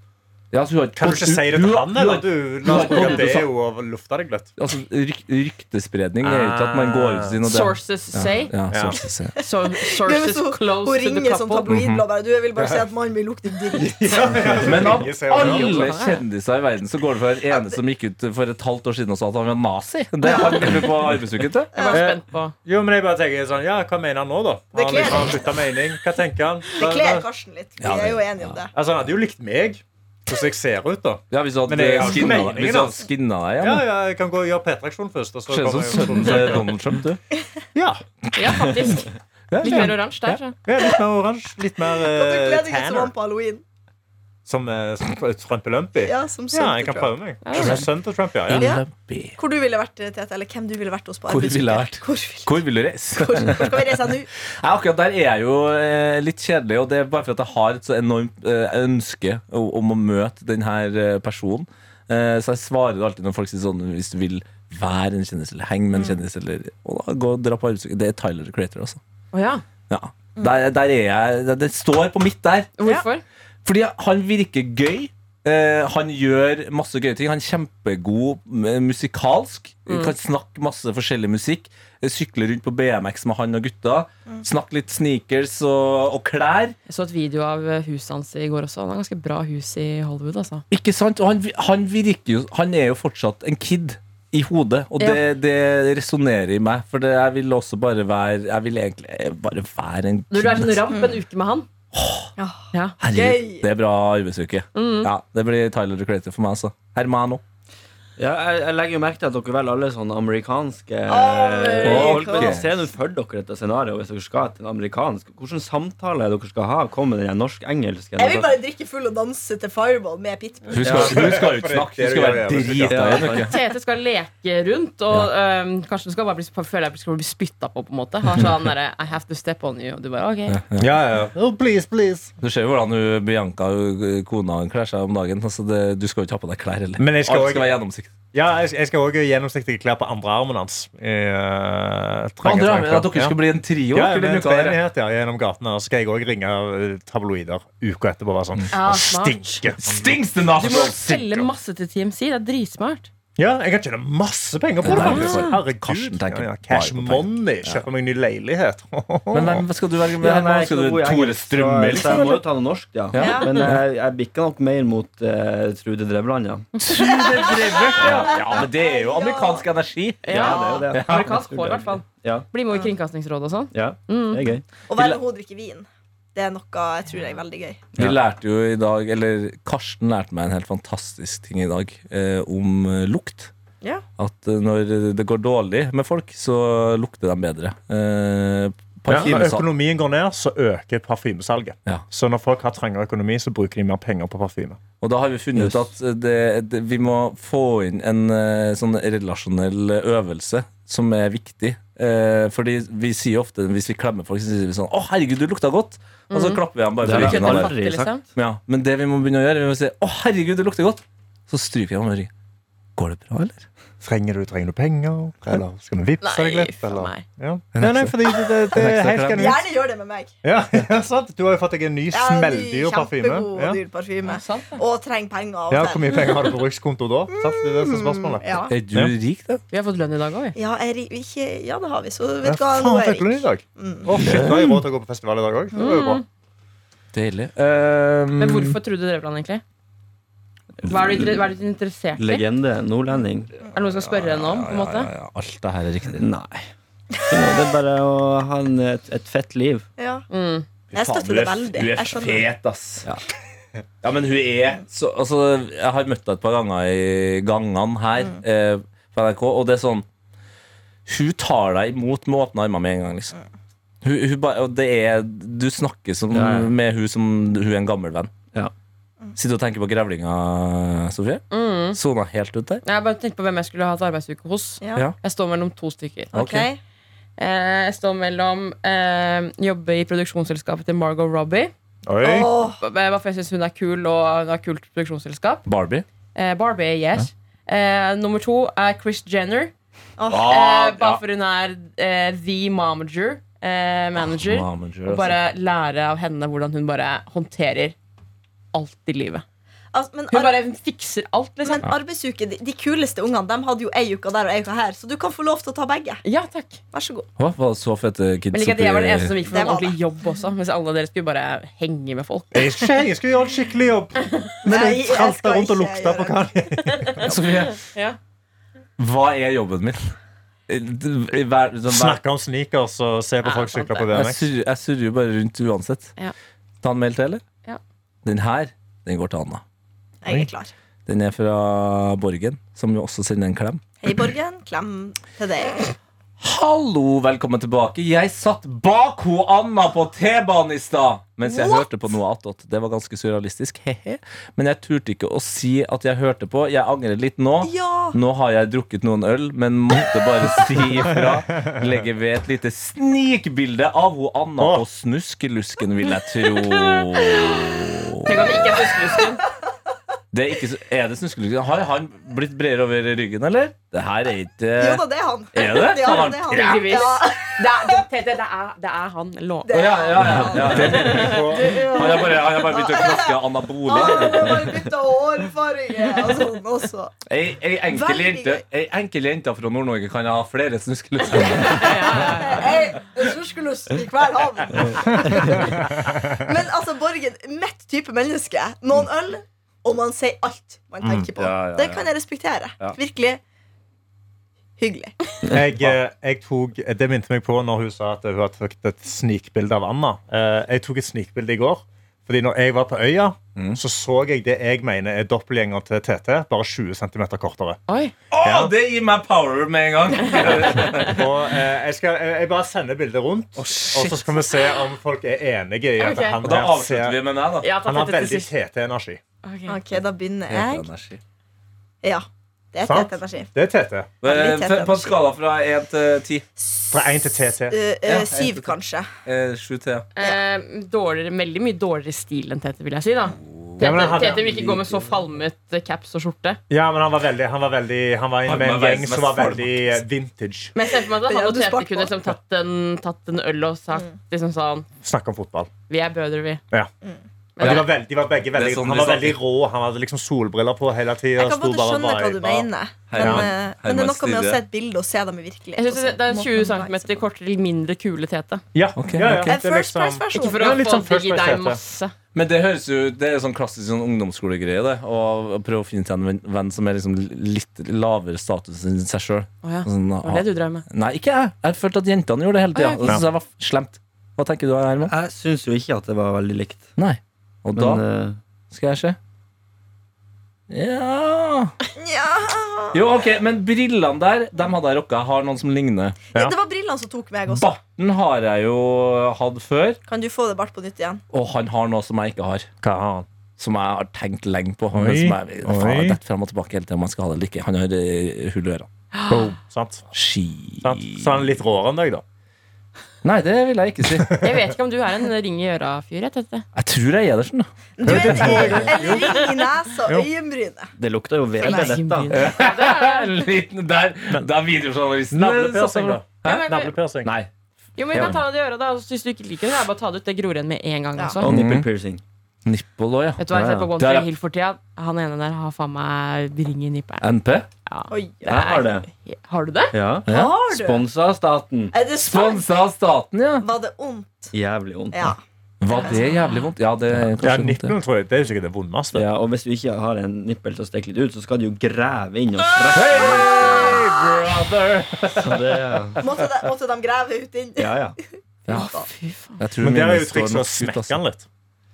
Speaker 2: Ja, altså, hun har-
Speaker 6: Kan du ikke si det til
Speaker 2: hun-
Speaker 6: han? eller?
Speaker 2: hun-
Speaker 6: Du, la oss
Speaker 2: hun-
Speaker 6: bruke
Speaker 2: hun-
Speaker 6: det jo og lufta deg litt.
Speaker 2: Altså, ryk, ryktespredning er jo ikke at man går ut og sier noe. det-
Speaker 5: Sources say.
Speaker 2: Ja,
Speaker 6: Ja.
Speaker 2: sources, ja.
Speaker 5: So,
Speaker 4: Ja, men
Speaker 5: sources
Speaker 4: så
Speaker 5: close
Speaker 4: Hun
Speaker 5: to the
Speaker 4: ringer sånn
Speaker 5: couple.
Speaker 4: tabloid og bare Du, jeg vil bare si at mannen min lukter dritt.
Speaker 2: Men av
Speaker 6: Ingen ser det.
Speaker 2: alle kjendiser i verden så går det for en ene som gikk ut for et halvt år siden og sa at han var nazi. Det er han du på arbeidsuken til.
Speaker 5: Jeg var spent på
Speaker 6: Jo, men jeg bare tenker sånn, ja, Hva mener han nå, da?
Speaker 4: Det
Speaker 6: Har han
Speaker 4: kler
Speaker 6: liksom
Speaker 4: deg.
Speaker 6: byttet mening? Hva tenker han?
Speaker 4: Det kler Karsten litt. Vi
Speaker 2: Ja, det-
Speaker 4: er jo enige om det.
Speaker 6: Altså, Han hadde jo likt meg, hvordan jeg ser ut, da.
Speaker 2: Ja, hvis du
Speaker 6: Men det er
Speaker 2: hadde
Speaker 6: jo ikke
Speaker 2: skinna
Speaker 6: meningen,
Speaker 2: deg, hvis du
Speaker 6: altså.
Speaker 2: hadde skinna deg
Speaker 6: Ja, Sånn
Speaker 2: igjen.
Speaker 6: ja, jeg kan gå og gjøre P-traksjon først. Og så
Speaker 2: Ser ut som
Speaker 6: kommer jeg-
Speaker 2: sønnen til Donald Trump, du.
Speaker 6: Ja,
Speaker 5: Ja, faktisk. Litt mer oransje der, så.
Speaker 6: ja, Litt mer oransje, litt mer
Speaker 4: Kan du
Speaker 6: uh,
Speaker 4: kle deg ut som
Speaker 6: tanner.
Speaker 4: han på halloween?
Speaker 6: Som, eh, som Trump Lumpy? Ja,
Speaker 4: Ja, som
Speaker 6: jeg kan
Speaker 4: sønn.
Speaker 6: prøve meg.
Speaker 5: Ja,
Speaker 6: Som sønn til Trump, ja. ja.
Speaker 4: Ja.
Speaker 2: Lumpy.
Speaker 4: Hvor du ville vært, Tete? Eller hvem du ville vært hos på
Speaker 2: Hvor ville jeg
Speaker 4: arbeidsuke?
Speaker 2: vært?
Speaker 4: Hvor vil-
Speaker 2: Hvor vil du reise?
Speaker 4: hvor- hvor skal vi reise nå?
Speaker 2: Nei, akkurat der er jeg jo eh, litt kjedelig, og det er bare for at jeg har et så enormt eh, ønske om, om å møte denne personen. Eh, så jeg svarer alltid når folk sier sånn hvis du vil være en kjendis eller henge med en kjendis eller og da, gå og dra på arbeidsuke. Det er Tyler the Creator, altså.
Speaker 5: Å ja.
Speaker 2: Ja. Der, der er jeg det- Det står på mitt der.
Speaker 5: Hvorfor?
Speaker 2: Fordi han virker gøy. Eh, han gjør masse gøye ting. Han er kjempegod eh, musikalsk.
Speaker 5: Mm.
Speaker 2: Kan snakke masse forskjellig musikk. Eh, Sykle rundt på BMX med han og gutta.
Speaker 5: Mm.
Speaker 2: Snakke litt sneakers og, og klær.
Speaker 5: Jeg så et video av eh, huset hans i går også. Han har ganske bra hus i Hollywood. altså
Speaker 2: Ikke sant? Og han, vi- han virker jo Han er jo fortsatt en kid i hodet, og det, det resonnerer i meg. For det, jeg vil også bare være Jeg vil egentlig bare være en
Speaker 5: Når du er sånn
Speaker 2: kid.
Speaker 5: ramp en uke med han ja.
Speaker 2: Herregud,
Speaker 4: Gøy.
Speaker 2: det er bra arbeidsuke.
Speaker 5: Mm.
Speaker 2: Ja, det blir Tyler the Creator for meg, altså. Hermano.
Speaker 3: Ja, jeg, jeg legger jo merke til at dere velger alle sånne amerikanske eh,
Speaker 4: Amerikansk.
Speaker 3: folk. Men se nå for dere dette scenarioet hvis dere skal til en amerikansk. Hvilken samtale dere skal ha? Kom med den norsk-engelske.
Speaker 4: Jeg vil bare drikke full og danse til Fireball med Pitbull.
Speaker 2: Hun skal, hun skal jo ikke snakke, hun skal være drita i en
Speaker 3: sånn-
Speaker 2: uke.
Speaker 5: Tete skal leke rundt, og øhm, kanskje du skal bare bli, føle deg skal bli spytta på. på en måte Har sånn derre I have to step on you. Og du bare ok.
Speaker 6: ja, ja. Oh, please, please.
Speaker 2: Du ser jo hvordan hun, Bianca, hun, kona, hun kler seg om dagen. Altså det, du skal jo ikke ha på deg klær heller.
Speaker 6: Men jeg skal
Speaker 2: Alt
Speaker 6: også-
Speaker 2: skal være gjennomsiktig.
Speaker 6: Ja, jeg, jeg skal òg gjennomsiktige klær på andre armen hans. I, eh, trange
Speaker 2: Andre
Speaker 6: tanker.
Speaker 2: er at dere skal bli en trio.
Speaker 6: ja, ja,
Speaker 2: ikke
Speaker 6: med
Speaker 2: denne
Speaker 6: en
Speaker 2: uka her.
Speaker 6: treenighet ja, gjennom gatene. Og så skal jeg òg ringe eh, tabloider uka etterpå. og Være sånn,
Speaker 5: Ja,
Speaker 6: han
Speaker 5: smart.
Speaker 6: stinker.
Speaker 2: Stings the
Speaker 5: Du må
Speaker 2: nostrils!
Speaker 5: selge masse til TMC. Det er dritsmart.
Speaker 6: Ja, jeg kan tjene masse penger på det.
Speaker 2: Ja,
Speaker 6: faktisk.
Speaker 2: ja. Karsten
Speaker 6: Herregud.
Speaker 2: tenker
Speaker 6: Ja, ja,
Speaker 2: bare
Speaker 6: Cash
Speaker 2: på penger.
Speaker 6: money. Kjøpe meg ny leilighet.
Speaker 2: Men eh, hvem skal du velge med?
Speaker 3: Ja,
Speaker 2: Herman?
Speaker 3: nei, jeg er
Speaker 2: skal
Speaker 3: ikke
Speaker 2: du
Speaker 3: noe god i engelsk,
Speaker 2: Tore Strømme,
Speaker 3: så- Så jeg må jo
Speaker 2: liksom?
Speaker 3: ta noe norsk, ja.
Speaker 2: Ja.
Speaker 3: Men jeg, jeg bikker nok mer mot eh, Trude Drevland, ja.
Speaker 2: Tore Drevert, ja. ja, men det er jo amerikansk energi.
Speaker 3: Ja, det er jo det.
Speaker 5: Amerikansk hår, i hvert fall.
Speaker 3: Ja,
Speaker 5: Bli med i Kringkastingsrådet og sånn.
Speaker 3: ja. Det er gøy.
Speaker 4: Å være med hun drikke vin, det er noe jeg tror er veldig gøy.
Speaker 2: Vi lærte jo i dag, eller Karsten lærte meg en helt fantastisk ting i dag eh, om eh, lukt.
Speaker 4: Ja.
Speaker 2: At eh, når det går dårlig med folk, så lukter de bedre. Eh,
Speaker 6: Ja, når
Speaker 2: Parfymesalg.
Speaker 6: økonomien går ned, så øker parfymesalget.
Speaker 2: Ja.
Speaker 6: Så når folk har trangere økonomi, så bruker de mer penger på parfyme.
Speaker 2: Og da har vi funnet ut at eh, det, det, vi må få inn en eh, sånn relasjonell eh, øvelse som er viktig. Eh, fordi vi sier ofte hvis vi klemmer folk, så sier vi sånn 'Å, herregud, du lukta godt'. Og så klapper vi ham bare
Speaker 3: Det
Speaker 2: på
Speaker 3: er
Speaker 2: ryggen.
Speaker 3: Mhm. det.
Speaker 2: og bare-
Speaker 5: Fattig, liksom.
Speaker 2: Ja, men det vi må begynne å gjøre, vi må si 'Å, herregud, det lukter godt'. Så stryker vi ham over ryggen. Går det bra, eller?
Speaker 6: Trenger du, trenger du penger? Eller skal vi vippse deg
Speaker 5: Nei,
Speaker 6: litt?
Speaker 5: faen
Speaker 6: Eller?
Speaker 5: meg.
Speaker 6: Ja. Nei, nei, fordi det, det, det er helt genuint.
Speaker 4: Gjerne gjør det med meg.
Speaker 6: Ja, ja, sant. Du har jo fått deg en ny
Speaker 4: Jeg har en ny,
Speaker 6: smelldyr parfyme.
Speaker 4: Kjempegod,
Speaker 6: Ja.
Speaker 4: dyr parfyme.
Speaker 5: Sant, det.
Speaker 4: Og trenger penger av
Speaker 6: Ja,
Speaker 4: og
Speaker 6: hvor
Speaker 4: til.
Speaker 6: mye penger har du på brukskonto da? Sant? Det er det som er spørsmålet.
Speaker 4: Ja.
Speaker 2: Er du
Speaker 6: Ja.
Speaker 2: rik, da?
Speaker 5: Vi har fått lønn i dag òg, vi.
Speaker 4: Ja, jeg er ri- ikke, ja, det har vi, så
Speaker 6: Ja,
Speaker 4: vet du hva,
Speaker 6: faen,
Speaker 4: nå er
Speaker 6: fikk du den i
Speaker 4: jeg rik.
Speaker 6: dag? Å, shit, nå har jeg råd til å gå på festival i dag òg. Det var jo bra.
Speaker 2: Deilig.
Speaker 3: Mm.
Speaker 5: Men hvorfor Trude Drevland, egentlig? Hva er du, inter- hva er du interessert i? Er
Speaker 3: Legende. Nordlending.
Speaker 5: det noe du skal spørre henne om? på en måte?
Speaker 2: Alt det her er riktig.
Speaker 3: Nei. Så Det er bare å ha en, et, et fett liv.
Speaker 4: Ja.
Speaker 5: Mm.
Speaker 4: Jeg støtter det veldig.
Speaker 2: Du
Speaker 4: Jeg
Speaker 2: er
Speaker 4: skjønner.
Speaker 2: fet, ass. Ja. men hun er så, altså, Jeg har møtt henne et par ganger i gangene her eh, på NRK, og det er sånn Hun tar deg imot med åpne armer med en gang, liksom. Hun, hun ba, og det er Du snakker som,
Speaker 3: Ja, ja.
Speaker 2: med hun som hun er en gammel venn.
Speaker 3: Ja.
Speaker 2: Sitter du og tenker på grevlinga, Sofie?
Speaker 5: Mm.
Speaker 2: Sona helt ut der.
Speaker 5: Jeg bare tenkte på hvem jeg skulle hatt arbeidsuke hos.
Speaker 4: Ja.
Speaker 2: Ja.
Speaker 5: Jeg står mellom to stykker.
Speaker 4: Ok.
Speaker 2: Ok.
Speaker 5: Eh, Jeg står mellom eh, jobbe i produksjonsselskapet til Margot Robbie.
Speaker 6: Oi.
Speaker 4: Åh,
Speaker 5: B- Bare fordi jeg syns hun er kul og hun har kult produksjonsselskap.
Speaker 2: Barbie.
Speaker 5: Eh, Barbie, yes. Eh, nummer to er Chris Jenner.
Speaker 4: åh.
Speaker 5: Eh,
Speaker 6: ja.
Speaker 5: bare for hun er eh, the
Speaker 4: Ah,
Speaker 5: momager. Eh, manager.
Speaker 2: Mamager,
Speaker 4: altså.
Speaker 5: Og bare lære av henne hvordan hun bare håndterer alt i livet.
Speaker 4: Altså, men,
Speaker 5: Hun
Speaker 4: ar
Speaker 5: bare fikser alt, liksom.
Speaker 4: men arbeidsuke, de, de kuleste ungene De hadde jo ei uke der og ei uke her, så du kan få lov til å ta begge.
Speaker 5: Ja, takk.
Speaker 4: Vær så god.
Speaker 2: Hva var det så fete kids
Speaker 5: Men ikke at jeg var den
Speaker 2: oppi
Speaker 5: eneste som gikk for
Speaker 4: Det
Speaker 5: en
Speaker 4: var det.
Speaker 5: ordentlig jobb også. Mens alle dere skulle bare henge med folk.
Speaker 6: Jeg skal, jeg skal gjøre en skikkelig jobb. Men
Speaker 4: Nei,
Speaker 6: jeg
Speaker 4: jeg
Speaker 6: tralta
Speaker 4: skal
Speaker 6: rundt
Speaker 4: ikke
Speaker 6: og lukta på
Speaker 4: gjøre
Speaker 6: Kanye.
Speaker 2: Sofie,
Speaker 5: Ja.
Speaker 2: hva er jobben min? I Hver, sånn, hver,
Speaker 6: Snakke om sneakers og se på
Speaker 5: Ja,
Speaker 6: folk
Speaker 5: sant
Speaker 6: sykle på
Speaker 5: det.
Speaker 2: jeg,
Speaker 6: BMX.
Speaker 2: surrer, jeg surrer jo bare rundt uansett.
Speaker 5: Ja.
Speaker 2: Ta en mail til, eller?
Speaker 5: Ja.
Speaker 2: Den her, den går til Anna.
Speaker 4: Jeg er klar.
Speaker 2: Den er fra Borgen, som jo også sender en klem.
Speaker 4: Hei, Borgen. Klem til deg.
Speaker 2: Hallo, velkommen tilbake. Jeg satt bak ho Anna på T-banen i stad mens jeg hørte på noe attåt. Det var ganske surrealistisk, he-he. Men jeg turte ikke å si at jeg hørte på. Jeg angrer litt nå.
Speaker 4: Ja!
Speaker 2: Nå har jeg drukket noen øl, men måtte bare si ifra. Legge ved et lite snikbilde av ho Anna
Speaker 6: Åh.
Speaker 2: på snuskelusken, vil jeg tro.
Speaker 5: Tenk om det ikke er fuskelusken.
Speaker 2: Det er, ikke, så- er det snuskelusken? Har han blitt bredere over ryggen, eller? Det her er
Speaker 4: Jo
Speaker 2: ikke
Speaker 4: da, det er han.
Speaker 2: Eh, Er det?
Speaker 4: Ja, det er han.
Speaker 5: Heldigvis.
Speaker 4: Ja.
Speaker 5: Det er, det, det, det, er, det er han. Lå.
Speaker 4: Det er
Speaker 2: Ja, ja, ja,
Speaker 4: han.
Speaker 2: ja. Han har bare, han har bare begynt å knaske
Speaker 4: Ah,
Speaker 2: anabole.
Speaker 4: det var bytta hårfarge og sånn også.
Speaker 2: Ei, ei, enkel
Speaker 4: Veldig
Speaker 2: jente, ei enkel jente fra Nord-Norge kan ha flere snuskelusser.
Speaker 4: Jeg skulle i hver havn. Men altså, Borgen, mett type menneske. Noen øl, og man sier alt man tenker på.
Speaker 2: Mm. Ja, ja, ja.
Speaker 4: Det kan jeg respektere. Virkelig hyggelig.
Speaker 6: Jeg, eh, jeg tok, det minte meg på når hun sa at hun hadde tatt et snikbilde av Anna. Eh, Jeg tok et snikbilde i går. Fordi når jeg var på øya, så så jeg det jeg mener er dobbeltgjenger til TT, bare 20 cm kortere.
Speaker 5: Oi.
Speaker 2: Å, det gir meg power med en gang!
Speaker 6: Og eh, jeg, skal, jeg bare sender bildet rundt, og så skal vi se om folk er enige i at
Speaker 5: Ok.
Speaker 6: han,
Speaker 2: Og da
Speaker 6: her
Speaker 2: avslutter vi
Speaker 6: ser,
Speaker 2: med meg, da.
Speaker 5: Ja, ta
Speaker 6: han har
Speaker 5: dette til
Speaker 6: veldig
Speaker 5: sist.
Speaker 6: TT-energi.
Speaker 5: Ok.
Speaker 4: Ok, da begynner jeg.
Speaker 2: Energi.
Speaker 4: Ja. Det er
Speaker 6: Sant?
Speaker 4: tett energi.
Speaker 6: Det er TT.
Speaker 4: Veldig tett
Speaker 2: Eh, På en skala fra 1 til 10
Speaker 6: Fra 1 til TT.
Speaker 4: Eh, eh,
Speaker 2: Ja, jeg-
Speaker 4: Siv, kanskje.
Speaker 2: eh, 7 til ja.
Speaker 5: Eh, dårligere, veldig mye dårligere stil enn Tete, vil jeg si. da
Speaker 6: Ja, men han hadde-
Speaker 5: Tete, Tete vil ikke gå med så falmet eh, caps og skjorte.
Speaker 6: Ja, men han var veldig Han var, veldig, han var
Speaker 2: Han
Speaker 6: med en
Speaker 2: var
Speaker 6: gjeng
Speaker 2: veldig-
Speaker 6: som var veldig eh, vintage.
Speaker 5: Men jeg ser for
Speaker 4: Det
Speaker 5: meg at han
Speaker 4: hadde
Speaker 5: og
Speaker 4: du
Speaker 5: Tete
Speaker 4: spart på. Mm.
Speaker 5: kunne liksom tatt, en, tatt en øl og sagt liksom sånn
Speaker 6: Snakk om fotball.
Speaker 5: Vi er bødre, vi.
Speaker 6: Ja. Og
Speaker 5: Men
Speaker 6: de
Speaker 5: det-
Speaker 6: var, veldig, de var begge
Speaker 2: Det
Speaker 6: veldig,
Speaker 2: er sånn
Speaker 6: han
Speaker 2: de
Speaker 6: var veldig
Speaker 2: snakker.
Speaker 6: rå. Han hadde liksom solbriller på hele tida.
Speaker 4: Jeg kan både skjønne hva du mener,
Speaker 2: Hei,
Speaker 4: men,
Speaker 2: Jan.
Speaker 4: eh,
Speaker 2: Hei,
Speaker 4: men det er
Speaker 2: Mads
Speaker 4: noe med å
Speaker 2: Lille.
Speaker 4: se et bilde og se dem i virkeligheten.
Speaker 5: Jeg synes
Speaker 4: og
Speaker 5: det,
Speaker 4: se
Speaker 5: det er
Speaker 4: måten
Speaker 5: 20
Speaker 4: de
Speaker 5: cm
Speaker 4: beveger seg på.
Speaker 5: kortere, mindre kule Tete.
Speaker 6: Ja,
Speaker 2: Ok,
Speaker 6: ja, ja.
Speaker 2: ok.
Speaker 4: En
Speaker 6: Det er
Speaker 4: first
Speaker 6: liksom-
Speaker 5: Ikke
Speaker 4: price-versjon.
Speaker 5: for å
Speaker 6: Ja, litt
Speaker 5: få
Speaker 6: sånn First
Speaker 5: digg i deg
Speaker 6: Price-Tete.
Speaker 5: masse.
Speaker 2: Men det høres jo Det er jo sånn klassisk sånn ungdomsskolegreie, det. Å prøve å finne seg en venn- venn som er liksom litt lavere status enn seg sjøl.
Speaker 5: Å ja.
Speaker 2: Sånn,
Speaker 5: Det var det du drev med.
Speaker 2: Nei, ikke jeg. Jeg følte at jentene gjorde det hele tida.
Speaker 5: Ah, ja,
Speaker 2: Det synes jeg var f- slemt. Hva tenker du, Herman?
Speaker 3: Jeg syns jo ikke at det var veldig likt.
Speaker 2: Nei. Og
Speaker 3: Men
Speaker 2: da
Speaker 3: eh,
Speaker 2: skal jeg se. Ja
Speaker 4: Ja.
Speaker 2: Jo, OK, men brillene der, dem hadde jeg rocka. Jeg har noen som ligner.
Speaker 6: Ja.
Speaker 4: Det var brillene som tok meg også.
Speaker 2: Barten har jeg jo hatt før,
Speaker 4: Kan du få det bart på nytt igjen?
Speaker 2: og han har noe som jeg ikke har.
Speaker 6: Hva har han?
Speaker 2: Som jeg har tenkt lenge på.
Speaker 6: Oi,
Speaker 2: men som jeg,
Speaker 6: oi.
Speaker 2: faen, jeg detter frem og tilbake hele tiden om jeg skal ha det eller ikke. Han har eh, hull i ørene.
Speaker 6: Boom. Sant?
Speaker 2: Ski
Speaker 6: Sant? Så han er litt råere enn deg, da.
Speaker 2: Nei, det vil jeg ikke si.
Speaker 5: Jeg vet ikke om du er en ring i øra-fyr. jeg, Tete.
Speaker 2: Jeg tror jeg er Edersen. da.
Speaker 4: Du er en en ring i nesa og
Speaker 6: Jo.
Speaker 4: øyenbrynet.
Speaker 3: det lukta jo ved
Speaker 4: Nei.
Speaker 3: dette.
Speaker 2: En liten der. Der er videojournalisten.
Speaker 6: Navlepiercing, da.
Speaker 5: Ja,
Speaker 6: Hæ?
Speaker 5: men-
Speaker 6: Navlepiercing.
Speaker 2: Nei.
Speaker 5: Jo, men jeg kan ta det i øra, da. Altså, hvis du ikke liker det, så er det bare å ta det ut. Det gror igjen med en gang.
Speaker 4: Ja.
Speaker 5: Også.
Speaker 3: Og nipple
Speaker 2: Mhm.
Speaker 3: piercing.
Speaker 2: Nipple òg, ja.
Speaker 5: Vet du hva jeg ser på One
Speaker 2: Der, ja.
Speaker 5: Tree Hill for tida? Han ene der har faen meg ring i nipperen.
Speaker 2: NP.
Speaker 4: Oi.
Speaker 3: Jeg har det.
Speaker 5: Har du det?
Speaker 3: Ja.
Speaker 4: Har du?
Speaker 3: Sponsa av staten.
Speaker 4: Er det sant?
Speaker 2: Sponsa av staten, ja.
Speaker 4: Var det ondt?
Speaker 3: Jævlig vondt.
Speaker 4: Ja.
Speaker 2: Var det jævlig vondt? Ja, det er
Speaker 6: Ja,
Speaker 2: kanskje vondt.
Speaker 6: nippelen, tror jeg. Det er jo sikkert det vondeste.
Speaker 3: Ja, og hvis du ikke har en nippel til å stikke litt ut, så skal du jo grave inn og strekke. Så det,
Speaker 4: Måtte de, måtte de grave ut inn?
Speaker 3: ja, ja.
Speaker 2: Ja.
Speaker 4: Faen.
Speaker 2: Jeg tror
Speaker 6: Men der
Speaker 2: mine
Speaker 6: er jo
Speaker 2: står
Speaker 6: trikset å
Speaker 2: nok ut,
Speaker 6: smekke
Speaker 2: altså.
Speaker 6: han litt.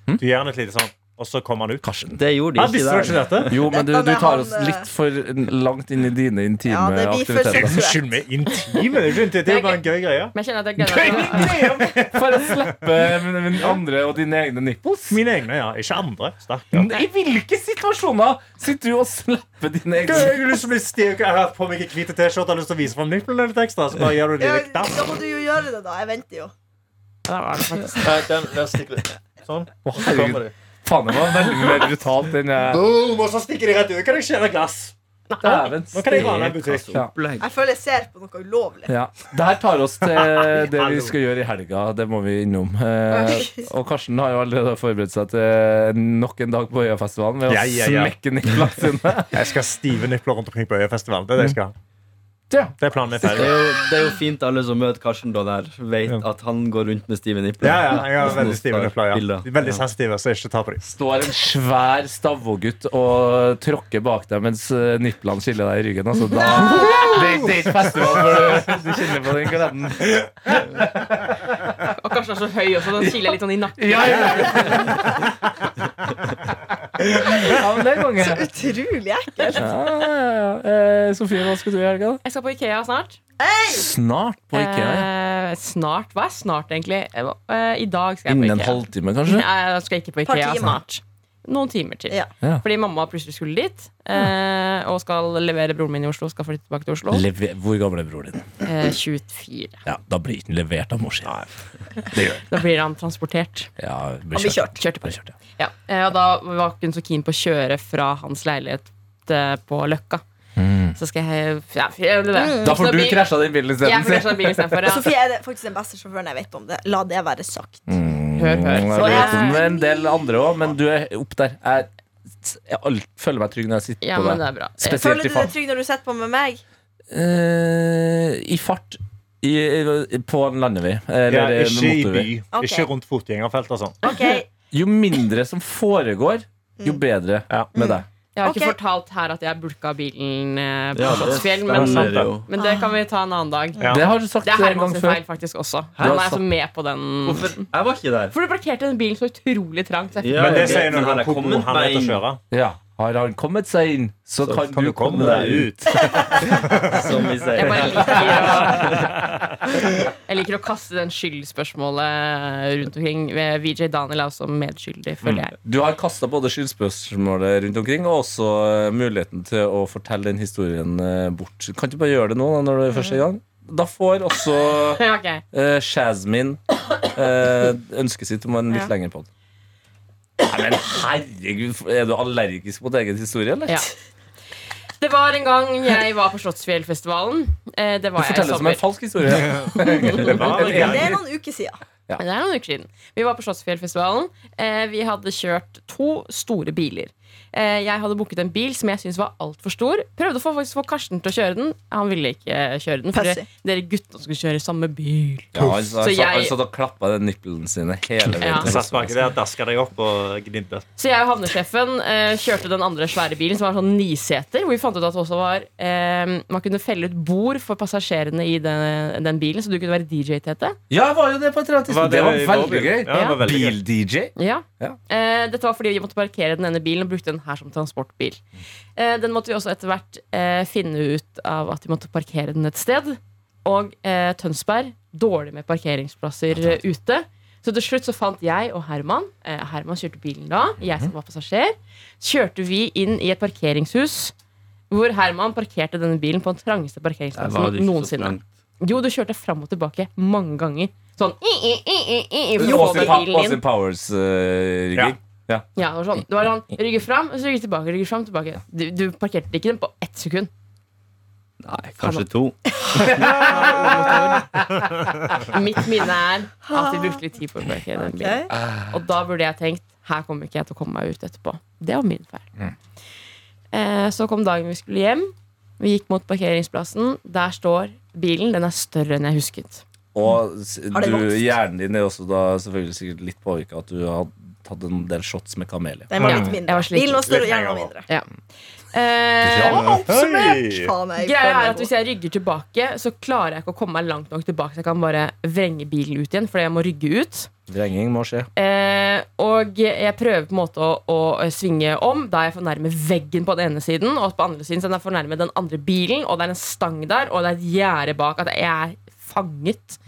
Speaker 6: Du gir han et lite sånn og så kom han ut.
Speaker 2: Karsten.
Speaker 3: Det gjorde
Speaker 6: Hæ,
Speaker 3: de
Speaker 6: visste
Speaker 3: ikke
Speaker 6: du ikke
Speaker 3: der.
Speaker 6: dette?
Speaker 2: Jo, men du,
Speaker 4: Dette
Speaker 2: du
Speaker 4: med
Speaker 2: tar oss
Speaker 4: han, eh,
Speaker 2: litt for langt inn i dine intime
Speaker 4: Ja, det blir for
Speaker 2: aktiviteter.
Speaker 4: seksuelt.
Speaker 6: Unnskyld meg, intime? Det er jo ikke- det er jo bare en gøy greie.
Speaker 5: Men jeg kjenner at jeg gleder meg. til å-
Speaker 2: For å slippe min, min andre og dine egne nipples.
Speaker 6: Mine egne, ja. Ikke andre. Sterkt. Ja.
Speaker 2: I hvilke situasjoner sitter du og slipper dine
Speaker 6: Jeg
Speaker 2: egne
Speaker 6: har lyst til å bli stiv. Jeg har hatt på meg en hvit T-skjorte og har lyst til å vise fram nipplene litt ekstra. Så bare gjør du det
Speaker 4: Ja,
Speaker 6: litt der.
Speaker 4: da må du jo gjøre det, da. Jeg venter jo.
Speaker 5: Ja, da var det faktisk.
Speaker 6: Nei, den, den stikker ut. Sånn. Og så
Speaker 2: herregud.
Speaker 6: kommer de.
Speaker 2: Faen, det var veldig mer brutalt enn jeg
Speaker 6: Boom, og så stikker de rett ut. Kan jeg skjære glass?
Speaker 2: Dæven
Speaker 6: Nå kan jeg rane en
Speaker 3: Hva
Speaker 6: butikk.
Speaker 3: så opplegg.
Speaker 4: Jeg føler jeg ser på noe ulovlig.
Speaker 2: Ja. Det her tar oss til det vi skal gjøre i helga. Det må vi innom. Eh, og Karsten har jo allerede forberedt seg til eh, nok en dag på Øyafestivalen ved å
Speaker 6: Ja, ja, ja.
Speaker 2: smekke Niklas sine.
Speaker 6: Jeg skal ha stive nipler rundt omkring på Øyafestivalen. Det er det jeg skal. ha.
Speaker 2: Ja.
Speaker 6: Det er planen min
Speaker 3: Det er,
Speaker 6: ferdig.
Speaker 3: jo, det er jo fint alle som møter Karsten da der, vet
Speaker 6: Ja.
Speaker 3: at han går rundt med stive nipler.
Speaker 6: Ja, ja, jeg har veldig stive nipler. Ja.
Speaker 3: Bilder.
Speaker 6: De er Veldig sensitive, så ikke ta på dem.
Speaker 2: Står en svær Stavågutt og tråkker bak deg mens eh, niplene skiller deg i ryggen. Altså, da, det, det er ikke festival for du, du kjenner på den gleden.
Speaker 5: Og kanskje den er så høy også, den kiler litt sånn i nakken.
Speaker 2: Ja, ja, ja. men det er konge.
Speaker 4: Så utrolig ekkelt.
Speaker 2: Ja, ja, ja. Eh, Sofie, hva skal du i helga? da?
Speaker 5: Jeg skal på Ikea snart.
Speaker 2: Snart på IKEA.
Speaker 5: Eh, snart? Hva er snart, egentlig? Eh, eh, I dag skal jeg på
Speaker 2: Innen en
Speaker 5: Ikea.
Speaker 2: halvtime, kanskje?
Speaker 5: Nei, jeg skal ikke på
Speaker 4: Par
Speaker 5: Ikea
Speaker 4: timer.
Speaker 5: snart. Noen timer til.
Speaker 4: Ja.
Speaker 2: Ja.
Speaker 5: Fordi mamma plutselig skulle dit, eh, og skal levere broren min i Oslo. Skal flytte tilbake til Oslo.
Speaker 2: Leve Hvor gammel er broren din?
Speaker 5: Eh, 24.
Speaker 2: Ja, Da blir ikke den levert av mor si.
Speaker 5: Da blir han transportert.
Speaker 2: Ja,
Speaker 4: Han blir kjørt.
Speaker 5: Kjørt
Speaker 2: Blir kjørt, ja.
Speaker 5: Ja, eh, og da var ikke hun så keen på å kjøre fra hans leilighet eh, på Løkka. Så skal jeg ja, jeg- det.
Speaker 2: Da får
Speaker 5: Så
Speaker 2: du
Speaker 5: blir-
Speaker 2: krasja den bilen
Speaker 5: Jeg
Speaker 2: isteden.
Speaker 5: får krasja bilen istedenfor. Ja.
Speaker 4: Sofie er det faktisk den beste sjåføren jeg vet om det. La det være sagt.
Speaker 5: Hør, hør.
Speaker 2: Jeg
Speaker 5: Så
Speaker 2: vet
Speaker 5: jeg,
Speaker 2: om en del andre òg, men du er opp der. Jeg, jeg alt, føler meg trygg når jeg sitter
Speaker 5: ja,
Speaker 2: på
Speaker 5: men det
Speaker 2: deg.
Speaker 5: er bra. Eh,
Speaker 2: Spesielt
Speaker 4: Føler
Speaker 2: i
Speaker 4: du deg
Speaker 2: fart.
Speaker 4: trygg når du sitter på med meg?
Speaker 2: Eh, I fart i, i- på en landevei.
Speaker 6: Ja,
Speaker 2: Eller en
Speaker 6: ikke i by.
Speaker 2: motorvei.
Speaker 4: Ok.
Speaker 6: Ikke rundt fotgjengerfelt og sånn.
Speaker 4: Ok,
Speaker 2: Jo mindre som foregår, jo
Speaker 5: Mm.
Speaker 2: bedre
Speaker 6: Ja.
Speaker 2: med deg.
Speaker 5: Jeg har ikke
Speaker 4: Ok.
Speaker 5: fortalt her at jeg bulka bilen eh, på
Speaker 3: Ja, det-
Speaker 5: Slottsfjell,
Speaker 3: der
Speaker 5: men,
Speaker 3: ser det jo.
Speaker 5: men det kan vi ta en annen dag.
Speaker 6: Ja.
Speaker 2: Det har du sagt
Speaker 5: Det er
Speaker 2: en gang
Speaker 5: Hermans sin
Speaker 2: før.
Speaker 5: feil faktisk også.
Speaker 2: Du har
Speaker 5: Han er altså
Speaker 2: sagt-
Speaker 5: med på den.
Speaker 3: Hvorfor? Jeg var ikke der.
Speaker 5: For du parkerte den bilen så utrolig trangt. så jeg-
Speaker 3: Ja,
Speaker 6: Men det
Speaker 3: jeg
Speaker 6: sier
Speaker 3: vet, men
Speaker 6: noe om
Speaker 3: jeg
Speaker 6: hvor
Speaker 3: kommet
Speaker 6: god han er til å
Speaker 3: meg
Speaker 6: kjøre.
Speaker 2: Ja. Har han kommet seg inn, så,
Speaker 3: Så
Speaker 2: kan,
Speaker 3: kan
Speaker 2: du
Speaker 3: du
Speaker 2: komme
Speaker 3: komme
Speaker 2: deg ut.
Speaker 6: ut.
Speaker 3: inn, Som vi
Speaker 5: Jeg
Speaker 3: sier.
Speaker 5: bare liker å, jeg liker å kaste den skyldspørsmålet rundt omkring. VJ Daniel er også medskyldig, føler jeg.
Speaker 2: Du har kasta både skyldspørsmålet rundt omkring og også eh, muligheten til å fortelle den historien eh, bort. Kan du bare gjøre det nå, da, når det er første gang? Da får også
Speaker 5: Ok.
Speaker 2: eh, Shazmin eh, ønsket sitt om en litt
Speaker 5: Ja.
Speaker 2: lengre pod. Nei, men herregud, er du allergisk mot egen historie, eller?
Speaker 5: Ja. Det var en gang jeg var på Slottsfjellfestivalen. Eh, Det
Speaker 2: Du
Speaker 5: var jeg i
Speaker 2: forteller det som
Speaker 5: sommer.
Speaker 2: en falsk historie.
Speaker 6: Det var en
Speaker 4: Det
Speaker 6: gang.
Speaker 4: er noen uker siden.
Speaker 5: Men det er noen uker siden. Vi var på Slottsfjellfestivalen. Eh, vi hadde kjørt to store biler. Eh, jeg hadde booket en bil som jeg syntes var altfor stor. Prøvde å få, faktisk få Karsten til å kjøre den. Han ville ikke eh, kjøre den, for
Speaker 4: Pussy.
Speaker 5: dere guttene skulle kjøre samme bil.
Speaker 2: Ja, han sa-
Speaker 5: Så jeg-
Speaker 2: han satt og klappa den nippelen sine hele veien.
Speaker 5: Ja.
Speaker 2: til
Speaker 6: Satt bak
Speaker 2: Rosenborg.
Speaker 6: der, daska deg opp og gnidde.
Speaker 5: Så jeg og havnesjefen eh, kjørte den andre svære bilen, som var sånn niseter. Hvor vi fant ut at det også var eh, man kunne felle ut bord for passasjerene i den, den bilen, så du kunne være DJ-tete.
Speaker 2: Ja, jeg var jo det på
Speaker 6: Var
Speaker 2: 3000.
Speaker 6: det
Speaker 2: Det var
Speaker 6: i vår
Speaker 2: veldig
Speaker 6: bil?
Speaker 2: gøy.
Speaker 6: Ja, det var veldig gøy.
Speaker 2: Bil-DJ.
Speaker 5: Ja.
Speaker 2: Ja.
Speaker 5: Eh, dette var fordi vi måtte parkere den ene bilen og brukte den her som transportbil. Eh, den måtte vi også etter hvert eh, finne ut av at vi måtte parkere den et sted. Og eh, Tønsberg, dårlig med parkeringsplasser eh, ute. Så til slutt så fant jeg og Herman eh, Herman kjørte bilen da, jeg som var passasjer. Kjørte vi inn i et parkeringshus hvor Herman parkerte denne bilen på den trangeste
Speaker 3: Jeg var
Speaker 5: parkeringsplassen
Speaker 3: ikke så
Speaker 5: noensinne.
Speaker 3: streng.
Speaker 5: Jo, du kjørte fram og tilbake mange ganger. Sånn i, i, i, i, i, i, for å få
Speaker 2: Austin, Pa-
Speaker 5: bilen inn.
Speaker 2: Austin eh, Powers-rigging. ja.
Speaker 5: Ja, det var sånn. Det var sånn rygge fram, og så rygge tilbake. rygge fram, tilbake. Du, du parkerte ikke den på ett sekund.
Speaker 3: Nei, kanskje to.
Speaker 5: Mitt minne er at vi brukte litt tid på å parkere den bilen.
Speaker 4: Ok.
Speaker 5: Og da burde jeg tenkt her kommer ikke jeg til å komme meg ut etterpå. Det var min feil. Eh, så kom dagen vi skulle hjem. Vi gikk mot parkeringsplassen. Der står bilen. Den er større enn jeg husket.
Speaker 2: Og s-
Speaker 4: det
Speaker 2: du,
Speaker 5: Mm.
Speaker 4: vokst?
Speaker 2: hjernen din er også da selvfølgelig sikkert litt påvirka at du hadde tatt en del shots med Kamelia.
Speaker 4: Den var
Speaker 6: Mm.
Speaker 4: litt
Speaker 5: Jeg var
Speaker 4: mindre.
Speaker 5: sliten.
Speaker 4: Bilen var større,
Speaker 6: Litt
Speaker 4: hjernen var
Speaker 6: lenger
Speaker 4: mindre.
Speaker 5: Eh,
Speaker 4: Ja, oppsummert!
Speaker 6: Hei!
Speaker 4: Faen, jeg
Speaker 5: Greia
Speaker 4: føler
Speaker 5: er
Speaker 4: meg
Speaker 5: at
Speaker 4: god.
Speaker 5: Hvis jeg rygger tilbake, så klarer jeg ikke å komme meg langt nok tilbake. Så jeg kan bare vrenge bilen ut igjen, fordi jeg må rygge ut.
Speaker 2: Vrenging må skje.
Speaker 5: Eh, og jeg prøver på en måte å, å svinge om, da jeg er for nærme veggen på den ene siden, og på den andre siden så er jeg for nærme den andre bilen, og det er en stang der, og det er et gjerde bak. At jeg er fanget.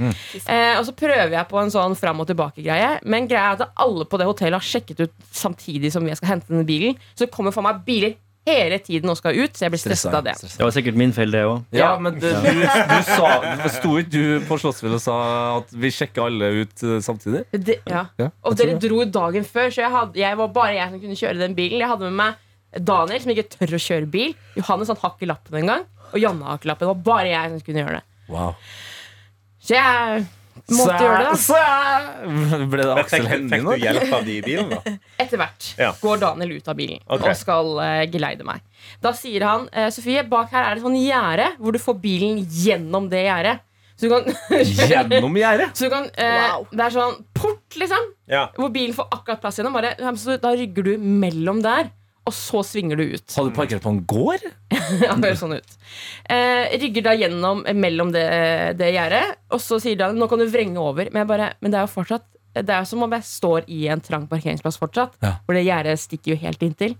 Speaker 5: Eh, og så prøver jeg på en sånn fram og tilbake-greie, men greia er at alle på det hotellet har sjekket ut samtidig som jeg skal hente den bilen. Så det kommer for meg biler hele tiden og skal ut, så jeg blir stresset av det.
Speaker 2: Stressa.
Speaker 3: Det var sikkert min feil, det òg.
Speaker 2: Ja, men det, du, du sa Sto ikke du på Slottsfjell og sa at vi sjekker alle ut eh, samtidig?
Speaker 5: Det, ja.
Speaker 2: Ja,
Speaker 5: Og
Speaker 2: jeg tror
Speaker 5: dere dro dagen før, så jeg, hadde, jeg var bare jeg som kunne kjøre den bilen. Jeg hadde med meg Daniel, som ikke tør å kjøre bil. Johannes han har ikke lappen engang. Og Janne har ikke lappen. Det var bare jeg som kunne gjøre det.
Speaker 2: Wow.
Speaker 5: Så jeg måtte gjøre det, da.
Speaker 2: da. Ble det
Speaker 6: Men
Speaker 2: Aksel
Speaker 6: Fikk, fikk
Speaker 2: Hennie
Speaker 6: du
Speaker 2: nå?
Speaker 6: hjelp av de i bilen, da?
Speaker 5: Etter hvert
Speaker 6: Ja.
Speaker 5: går Daniel ut av bilen
Speaker 6: Ok.
Speaker 5: og skal eh, geleide meg. Da sier han eh, Sofie, bak her er det et sånn gjerde hvor du får bilen gjennom det gjerdet. Så du kan,
Speaker 2: Gjennom gjerdet!
Speaker 5: så du kan eh,
Speaker 4: Wow.
Speaker 5: Det er sånn port, liksom.
Speaker 6: Ja.
Speaker 5: Hvor bilen får akkurat plass gjennom. Bare, ja, men så da rygger du mellom der, og så svinger du ut.
Speaker 2: Har du parkert på en gård?
Speaker 5: Ja, det høres sånn ut. Eh, rygger da gjennom eh, mellom det, det gjerdet, og så sier han nå kan du vrenge over. Men, jeg bare, men det er jo fortsatt Det er jo som om jeg står i en trang parkeringsplass fortsatt,
Speaker 2: Ja.
Speaker 5: hvor det gjerdet stikker jo helt inntil.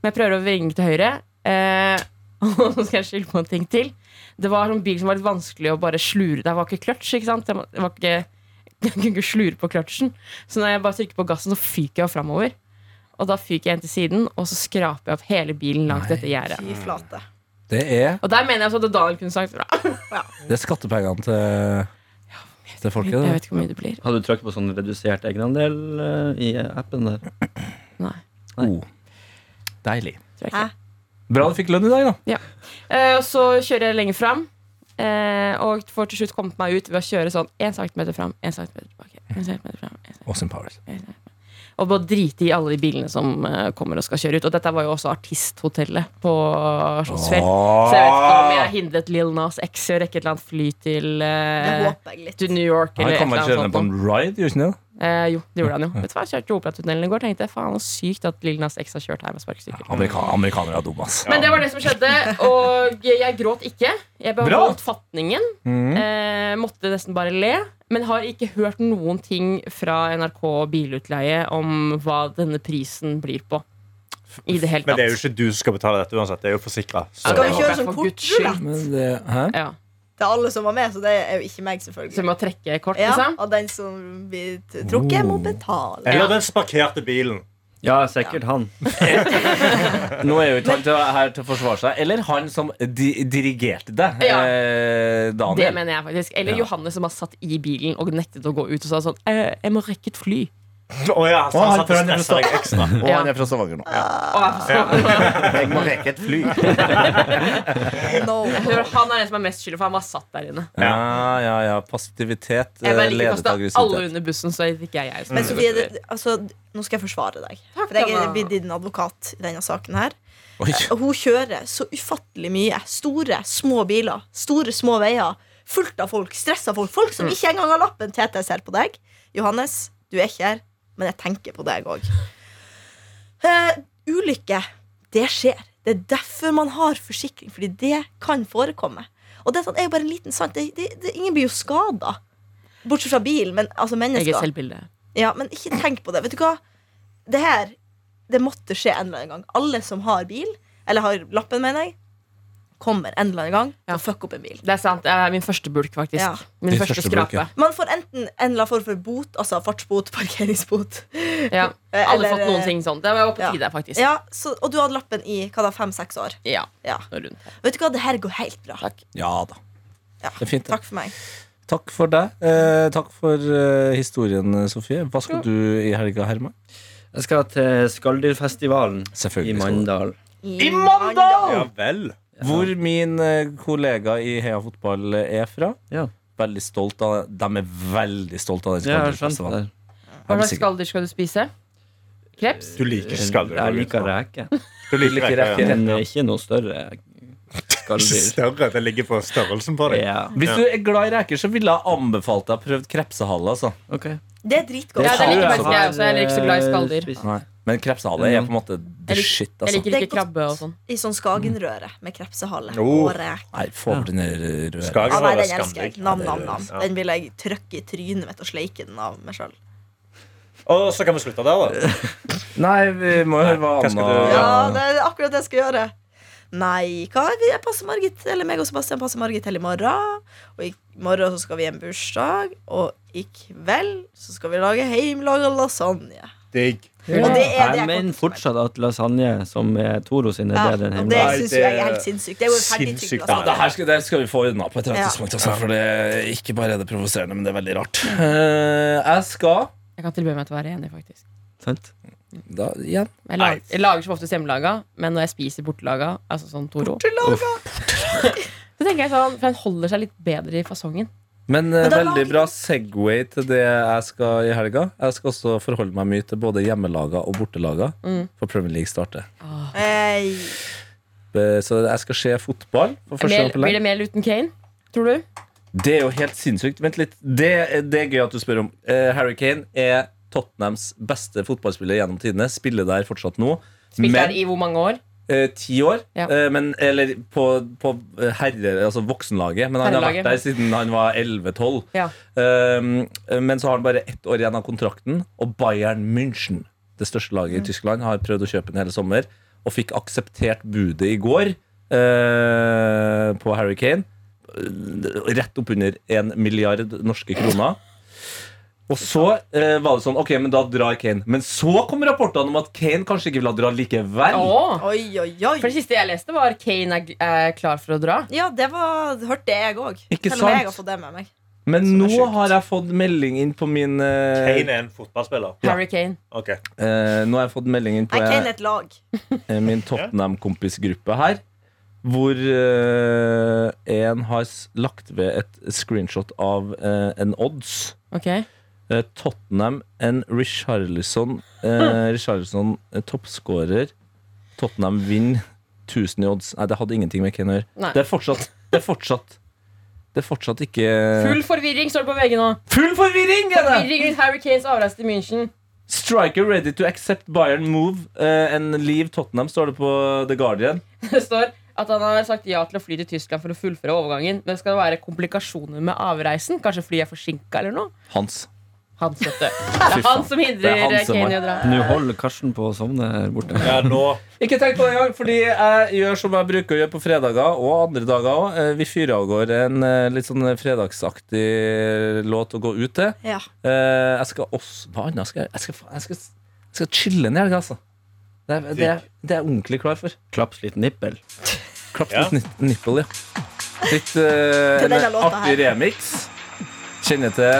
Speaker 5: Men jeg prøver å vrenge til høyre, eh, og så skal jeg skylde på en ting til. Det var en bil som var litt vanskelig å bare slure. Det var ikke kløtsj, ikke sant? Det var- Det var ikke, jeg kunne ikke slure på kløtsjen. Så når jeg bare trykker på gassen, så fyker jeg framover. Og da fyker jeg inn til siden, og så skraper jeg opp hele bilen langs dette gjerdet.
Speaker 4: Fy flate.
Speaker 2: Det er,
Speaker 5: Og der mener jeg altså at Daniel kunne sagt fra.
Speaker 2: det er skattepengene til, til folket.
Speaker 5: Jeg
Speaker 2: Det.
Speaker 5: vet ikke hvor mye det blir.
Speaker 3: Hadde du trykt på sånn redusert egenandel eh, i appen der?
Speaker 5: Nei.
Speaker 2: Oh. Deilig.
Speaker 5: Tror jeg
Speaker 4: Hæ?
Speaker 5: ikke.
Speaker 2: Bra du fikk lønn i dag, da.
Speaker 5: Eh, og så kjører jeg lenger fram, eh, og får til slutt kommet meg ut ved å kjøre sånn én centimeter fram, én centimeter tilbake. En centimeter fram, en centimeter.
Speaker 2: Austin Powers.
Speaker 5: Og bare drite i alle de bilene som eh, kommer og skal kjøre ut. Og dette var jo også artisthotellet på Slottsfjell. Så jeg vet ikke om jeg hindret Lil Nas X i å rekke et eller annet fly til
Speaker 4: Det
Speaker 5: eh,
Speaker 4: håper jeg litt.
Speaker 5: til New York
Speaker 2: Han
Speaker 5: eller et
Speaker 2: kan
Speaker 5: eller
Speaker 2: vel
Speaker 5: annet
Speaker 2: kjøre ned
Speaker 5: sånt.
Speaker 2: på en ride, gjør ikke han det?
Speaker 5: Eh, jo, det gjorde han jo. Vet du hva, Jeg kjørte til Operatunnelen i går tenkte jeg, faen, så sykt at Lil Nas X har kjørt her med sparkesykkel.
Speaker 2: Amerika Amerikanere er dumme, ass.
Speaker 5: Men det var det som skjedde, og jeg gråt ikke. Jeg beholdt fatningen.
Speaker 6: Mm.
Speaker 5: Eh, måtte nesten bare le. Men har ikke hørt noen ting fra NRK Bilutleie om hva denne prisen blir på. I det hele
Speaker 6: Men det er jo
Speaker 5: tatt.
Speaker 6: ikke du som skal betale dette uansett. Det er jo forsikra.
Speaker 4: Skal vi
Speaker 5: Ja,
Speaker 4: kjøre
Speaker 5: for
Speaker 4: sånn
Speaker 5: Guds skyld.
Speaker 4: kortrulett?
Speaker 2: Men det, hæ?
Speaker 5: Ja.
Speaker 4: Det er alle som var med, så det er jo ikke meg,
Speaker 5: Så vi
Speaker 4: selvfølgelig.
Speaker 5: må trekke kort,
Speaker 4: Ja,
Speaker 5: liksom?
Speaker 4: og den som blir t- trukket, må betale.
Speaker 6: Eller den sparkerte bilen.
Speaker 3: Ja, sikkert han.
Speaker 2: Nå er jo ikke han til, her til å forsvare seg. Eller han som di dirigerte deg,
Speaker 5: Ja.
Speaker 2: eh,
Speaker 5: Det
Speaker 2: Daniel.
Speaker 5: mener jeg faktisk. Eller
Speaker 2: Ja.
Speaker 5: Johannes som har satt i bilen og nektet å gå ut og sa sånn eh, 'Jeg må rekke et fly'.
Speaker 6: Å ja, så
Speaker 2: Å,
Speaker 6: han
Speaker 2: han
Speaker 6: satt og
Speaker 2: prøvde å
Speaker 6: stressa deg ekstra.
Speaker 2: Og
Speaker 5: han er
Speaker 2: fra Stavanger nå.
Speaker 4: Ah.
Speaker 5: Og jeg forstår-
Speaker 2: Jeg må rekke et fly.
Speaker 4: No.
Speaker 5: Han er den som er mest skyldig, for han var satt der inne.
Speaker 2: Ja, ja, ja. Passivitet
Speaker 5: Jeg
Speaker 2: eh,
Speaker 5: bare liker å
Speaker 2: ledet av
Speaker 5: kaste alle
Speaker 2: aggressivitet.
Speaker 5: under bussen, så ikke jeg er
Speaker 4: Men Sofie, det, altså, nå skal jeg forsvare deg.
Speaker 5: Mm. Takk,
Speaker 4: For jeg
Speaker 5: Anna.
Speaker 4: er blitt din advokat i denne saken her.
Speaker 2: Oi.
Speaker 4: Og hun kjører så ufattelig mye. Store, små biler. Store, små veier. Fullt av folk. Stressa folk. Folk
Speaker 5: Mm.
Speaker 4: som ikke engang har lappen. Tete, jeg ser på deg. Johannes, du er ikke her, men jeg tenker på deg òg. ulykke, det skjer. Det er derfor man har forsikring, fordi det kan forekomme. Og det er sånn- er jo bare en liten sant. Det, det, det, ingen blir jo skada. Bortsett fra bilen, men altså
Speaker 5: Eget
Speaker 4: mennesker.
Speaker 5: selvbilde.
Speaker 4: Ja, men ikke tenk på det. Vet du hva? Det her det måtte skje en eller annen gang. Alle som har bil, eller har lappen, mener jeg, kommer en eller annen gang
Speaker 5: Ja.
Speaker 4: og fucker opp en bil.
Speaker 5: Det er sant. Det er min første bulk, faktisk.
Speaker 4: Ja.
Speaker 5: Min
Speaker 2: Ditt
Speaker 5: første,
Speaker 2: første bulk,
Speaker 5: skrape.
Speaker 2: ja.
Speaker 4: Man får enten en eller annen form for bot, altså fartsbot, parkeringsbot.
Speaker 5: Ja.
Speaker 4: eh,
Speaker 5: Alle
Speaker 4: eller-
Speaker 5: fått noen ting sånn. Det var på
Speaker 4: Ja.
Speaker 5: tide, faktisk.
Speaker 4: Ja, så, og du hadde lappen i hva da, fem-seks år.
Speaker 5: Ja,
Speaker 4: Ja.
Speaker 5: nå rundt her.
Speaker 4: Vet du hva, det her går helt bra.
Speaker 5: Takk.
Speaker 2: Ja da.
Speaker 4: Ja.
Speaker 2: Det er fint. det.
Speaker 4: Takk for meg.
Speaker 2: Takk for deg. Eh, takk for eh, historien, Sofie. Hva skal du i helga, Herman?
Speaker 3: Jeg skal til Skalldyrfestivalen i
Speaker 2: Selvfølgelig. skal du.
Speaker 3: Mandal.
Speaker 4: I
Speaker 6: Ja vel.
Speaker 2: Hvor min eh, kollega i Heia Fotball er fra.
Speaker 3: Ja.
Speaker 2: Veldig stolt av De er veldig stolt av den
Speaker 3: Ja, jeg har skjønt det.
Speaker 2: skandalfestivalen.
Speaker 5: Hva slags skalldyr skal du spise? Kreps?
Speaker 6: Du liker ikke skalldyr.
Speaker 3: Jeg liker reker.
Speaker 6: Du liker
Speaker 2: liker
Speaker 6: reker, ja.
Speaker 2: reker.
Speaker 3: Men eh, ikke noe større
Speaker 6: Ikke
Speaker 3: skalldyr.
Speaker 6: større. Det ligger på størrelsen på deg.
Speaker 3: Ja,
Speaker 2: Hvis du er glad i reker, så ville jeg anbefalt deg å prøve krepsehalle. Altså.
Speaker 3: ok
Speaker 4: Det er dritgodt.
Speaker 5: Ja, det liker
Speaker 3: tror
Speaker 5: faktisk jeg også. Jeg er ikke så glad i skalldyr.
Speaker 3: spist.
Speaker 2: Nei. Mm. Men krepsehale er på en måte the
Speaker 5: Jeg lik-
Speaker 2: shit,
Speaker 5: Jeg
Speaker 2: altså.
Speaker 5: liker
Speaker 4: Det er
Speaker 5: ikke
Speaker 4: godt.
Speaker 5: krabbe og sånn.
Speaker 4: I sånn Skagenrøre med krepsehale
Speaker 6: Oh.
Speaker 4: og reker.
Speaker 2: Nei, få bort den der eh, røra.
Speaker 4: Ja,
Speaker 6: Skagen
Speaker 4: nei,
Speaker 6: var
Speaker 4: den elsker
Speaker 6: skamdigg.
Speaker 4: jeg. Nam, nam, nam.
Speaker 6: Ja.
Speaker 4: Den vil jeg trykke i trynet mitt og sleike den av meg sjøl.
Speaker 6: Og så kan vi slutte der, da.
Speaker 2: Nei, vi må jo høre hva
Speaker 6: Hva skal du-
Speaker 2: Anna
Speaker 4: Ja, det er akkurat det jeg skal gjøre. Nei, hva er vi? Jeg passer Margit, eller meg og Sebastian passer Margit hele i morgen. Og i morgen så skal vi i en bursdag. Og i kveld så skal vi lage hjemmelaga lasagne.
Speaker 6: Digg.
Speaker 4: Og det er det
Speaker 3: Jeg mener
Speaker 4: jeg kommer til å spille.
Speaker 3: fortsatt at lasagne, som er Toro sin, er
Speaker 4: Ja,
Speaker 3: bedre enn
Speaker 4: og det
Speaker 3: hjemmelaga.
Speaker 6: Nei,
Speaker 4: syns jo jeg er
Speaker 6: det-
Speaker 4: helt sinnssykt. Det er jo en
Speaker 6: Sinnssykt.
Speaker 4: ferdigtygd
Speaker 6: Ja,
Speaker 2: det
Speaker 4: lasagne.
Speaker 2: her skal, det her skal vi få unna på et eller annet
Speaker 4: Ja.
Speaker 2: tidspunkt. Altså, for det er ikke bare er det provoserende, men det er veldig rart.
Speaker 4: Mm.
Speaker 2: Eh, jeg skal
Speaker 5: Jeg kan tilby meg til å være enig, faktisk.
Speaker 3: Sant?
Speaker 2: da, igjen.
Speaker 5: Jeg lager, jeg lager som oftest hjemmelaga, men når jeg spiser bortelaga, altså sånn Toro Så tenker jeg sånn, For den holder seg litt bedre i fasongen.
Speaker 2: Men, eh,
Speaker 4: Men da
Speaker 2: veldig
Speaker 4: lager-
Speaker 2: bra Segway til det jeg skal i helga. Jeg skal også forholde meg mye til både hjemmelaga og bortelaga,
Speaker 5: Mm.
Speaker 2: for Premier League starter.
Speaker 4: Ei,
Speaker 2: Eh, Så jeg skal se fotball for første gang
Speaker 5: Mel,
Speaker 2: på
Speaker 5: blir
Speaker 2: lenge.
Speaker 5: det mer Luton Kane, tror du?
Speaker 2: Det er jo helt sinnssykt. Vent litt. Det, det er gøy at du spør om. Eh, Harry Kane er Tottenhams beste fotballspiller gjennom tidene. Spiller der fortsatt nå.
Speaker 5: Spilt
Speaker 2: Men-
Speaker 5: der i hvor mange år?
Speaker 2: Eh, ti år.
Speaker 5: Ja.
Speaker 2: Eh, men, eller på, på herre, altså voksenlaget. Men han
Speaker 5: Herrelaget.
Speaker 2: har vært der siden han var 11-12.
Speaker 5: Ja.
Speaker 2: Um, men så har han bare ett år igjen av kontrakten, og Bayern München, det største laget i Tyskland, har prøvd å kjøpe den hele sommer, og fikk akseptert budet i går eh, på Harry Kane. Eh, Rett oppunder en milliard norske kroner. Og så eh, var det sånn, ok, men da drar Kane. Men så kom rapportene om at Kane kanskje ikke ville dra likevel.
Speaker 5: Åh.
Speaker 4: oi, oi,
Speaker 5: For det
Speaker 4: oi.
Speaker 5: siste jeg leste, var Kane er er klar for å dra.
Speaker 4: Ja, det var, hørte jeg òg.
Speaker 2: Ikke
Speaker 4: Selv om jeg
Speaker 2: sant?
Speaker 4: har fått det med meg.
Speaker 2: Men
Speaker 6: Som er
Speaker 2: nå
Speaker 6: sjukt.
Speaker 2: har jeg fått melding inn på min eh,
Speaker 6: Kane er en fotballspiller.
Speaker 5: Harry Kane.
Speaker 6: Ok.
Speaker 2: eh, Nå har jeg fått melding inn på
Speaker 4: Nei, Kane er et lag.
Speaker 2: eh, min Tottenham-kompisgruppe her. Hvor eh, en har s- lagt ved et screenshot av eh, en odds.
Speaker 5: Ok
Speaker 2: Eh, Tottenham and Richarlison. Uh, Richarlison uh, toppskårer. Tottenham vinner 1000 i odds. Nei, det hadde ingenting med Kane å gjøre.
Speaker 5: Nei.
Speaker 2: Det er fortsatt Det er fortsatt, det er fortsatt ikke
Speaker 5: Full forvirring står det på VG nå.
Speaker 2: Full forvirring! er det!
Speaker 5: Forvirring rundt Harry Kanes avreise til München.
Speaker 2: Striker ready to accept Bayern move eh, and leave Tottenham, står det på The Guardian.
Speaker 5: Det står at han har sagt ja til å fly til Tyskland for å fullføre overgangen. Men skal det være komplikasjoner med avreisen? Kanskje flyet er forsinka eller noe?
Speaker 2: Hans.
Speaker 5: Hans, vet du. Det er han som
Speaker 2: Det er
Speaker 5: hindrer
Speaker 2: han som
Speaker 5: Kane i
Speaker 2: har-
Speaker 5: å dra.
Speaker 3: Nå holder Karsten på å sovne her borte.
Speaker 6: Ja, nå
Speaker 2: Ikke tenk på det engang, fordi jeg gjør som jeg bruker å gjøre på fredager og andre dager òg. Vi fyrer av gårde en eh, litt sånn fredagsaktig eh, låt å gå ut til.
Speaker 4: Ja.
Speaker 2: Eh, Jeg skal også Hva annet skal jeg Jeg skal, fa- jeg skal, jeg skal chille en helg, altså. Det er, det, er, det er jeg ordentlig klar for.
Speaker 3: Klaps litt nippel.
Speaker 2: Klapp
Speaker 6: Ja.
Speaker 2: litt nip- nipple, ja. Litt eh,
Speaker 4: Til
Speaker 2: en
Speaker 4: denne låta
Speaker 2: artig remix. Kjenner til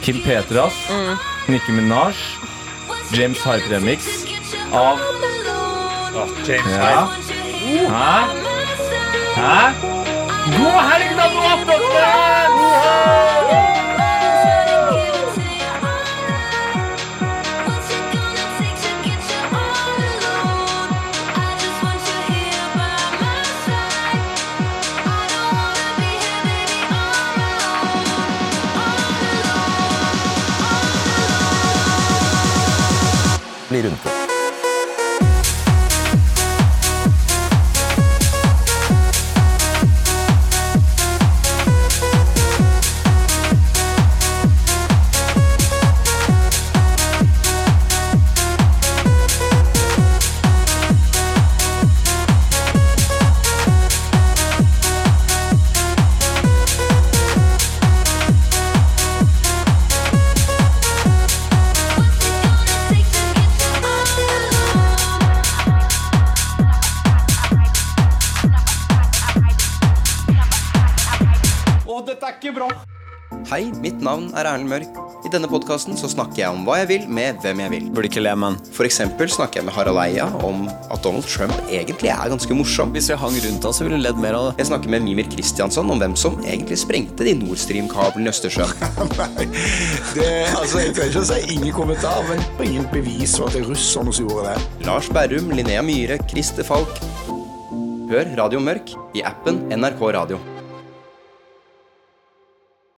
Speaker 2: Kim Petras,
Speaker 4: Mm.
Speaker 2: Nicki Minaj James Hype remix av
Speaker 6: Å, James
Speaker 2: Ja.
Speaker 6: Hyde.
Speaker 2: Hæ? Hæ? God helg, da, nå, folkens!
Speaker 7: Bli rundt det.
Speaker 8: Hei, mitt navn er Erlend Mørk. I denne podkasten så snakker jeg om hva jeg vil, med hvem jeg vil. Burde ikke le, men. For eksempel snakker jeg med Harald Eia om at Donald Trump egentlig er ganske morsom. Hvis jeg hang rundt han, så ville hun ledd mer av det. Jeg snakker med Mimir Kristiansson om hvem som egentlig sprengte de Nord Stream-kablene i Østersjøen.
Speaker 9: altså, jeg kan ikke si ingen kommentar, men ingen bevis for at det er russerne som gjorde det.
Speaker 8: Lars Berrum, Linnea Myhre, Christer Falk. Hør Radio Mørk i appen NRK Radio.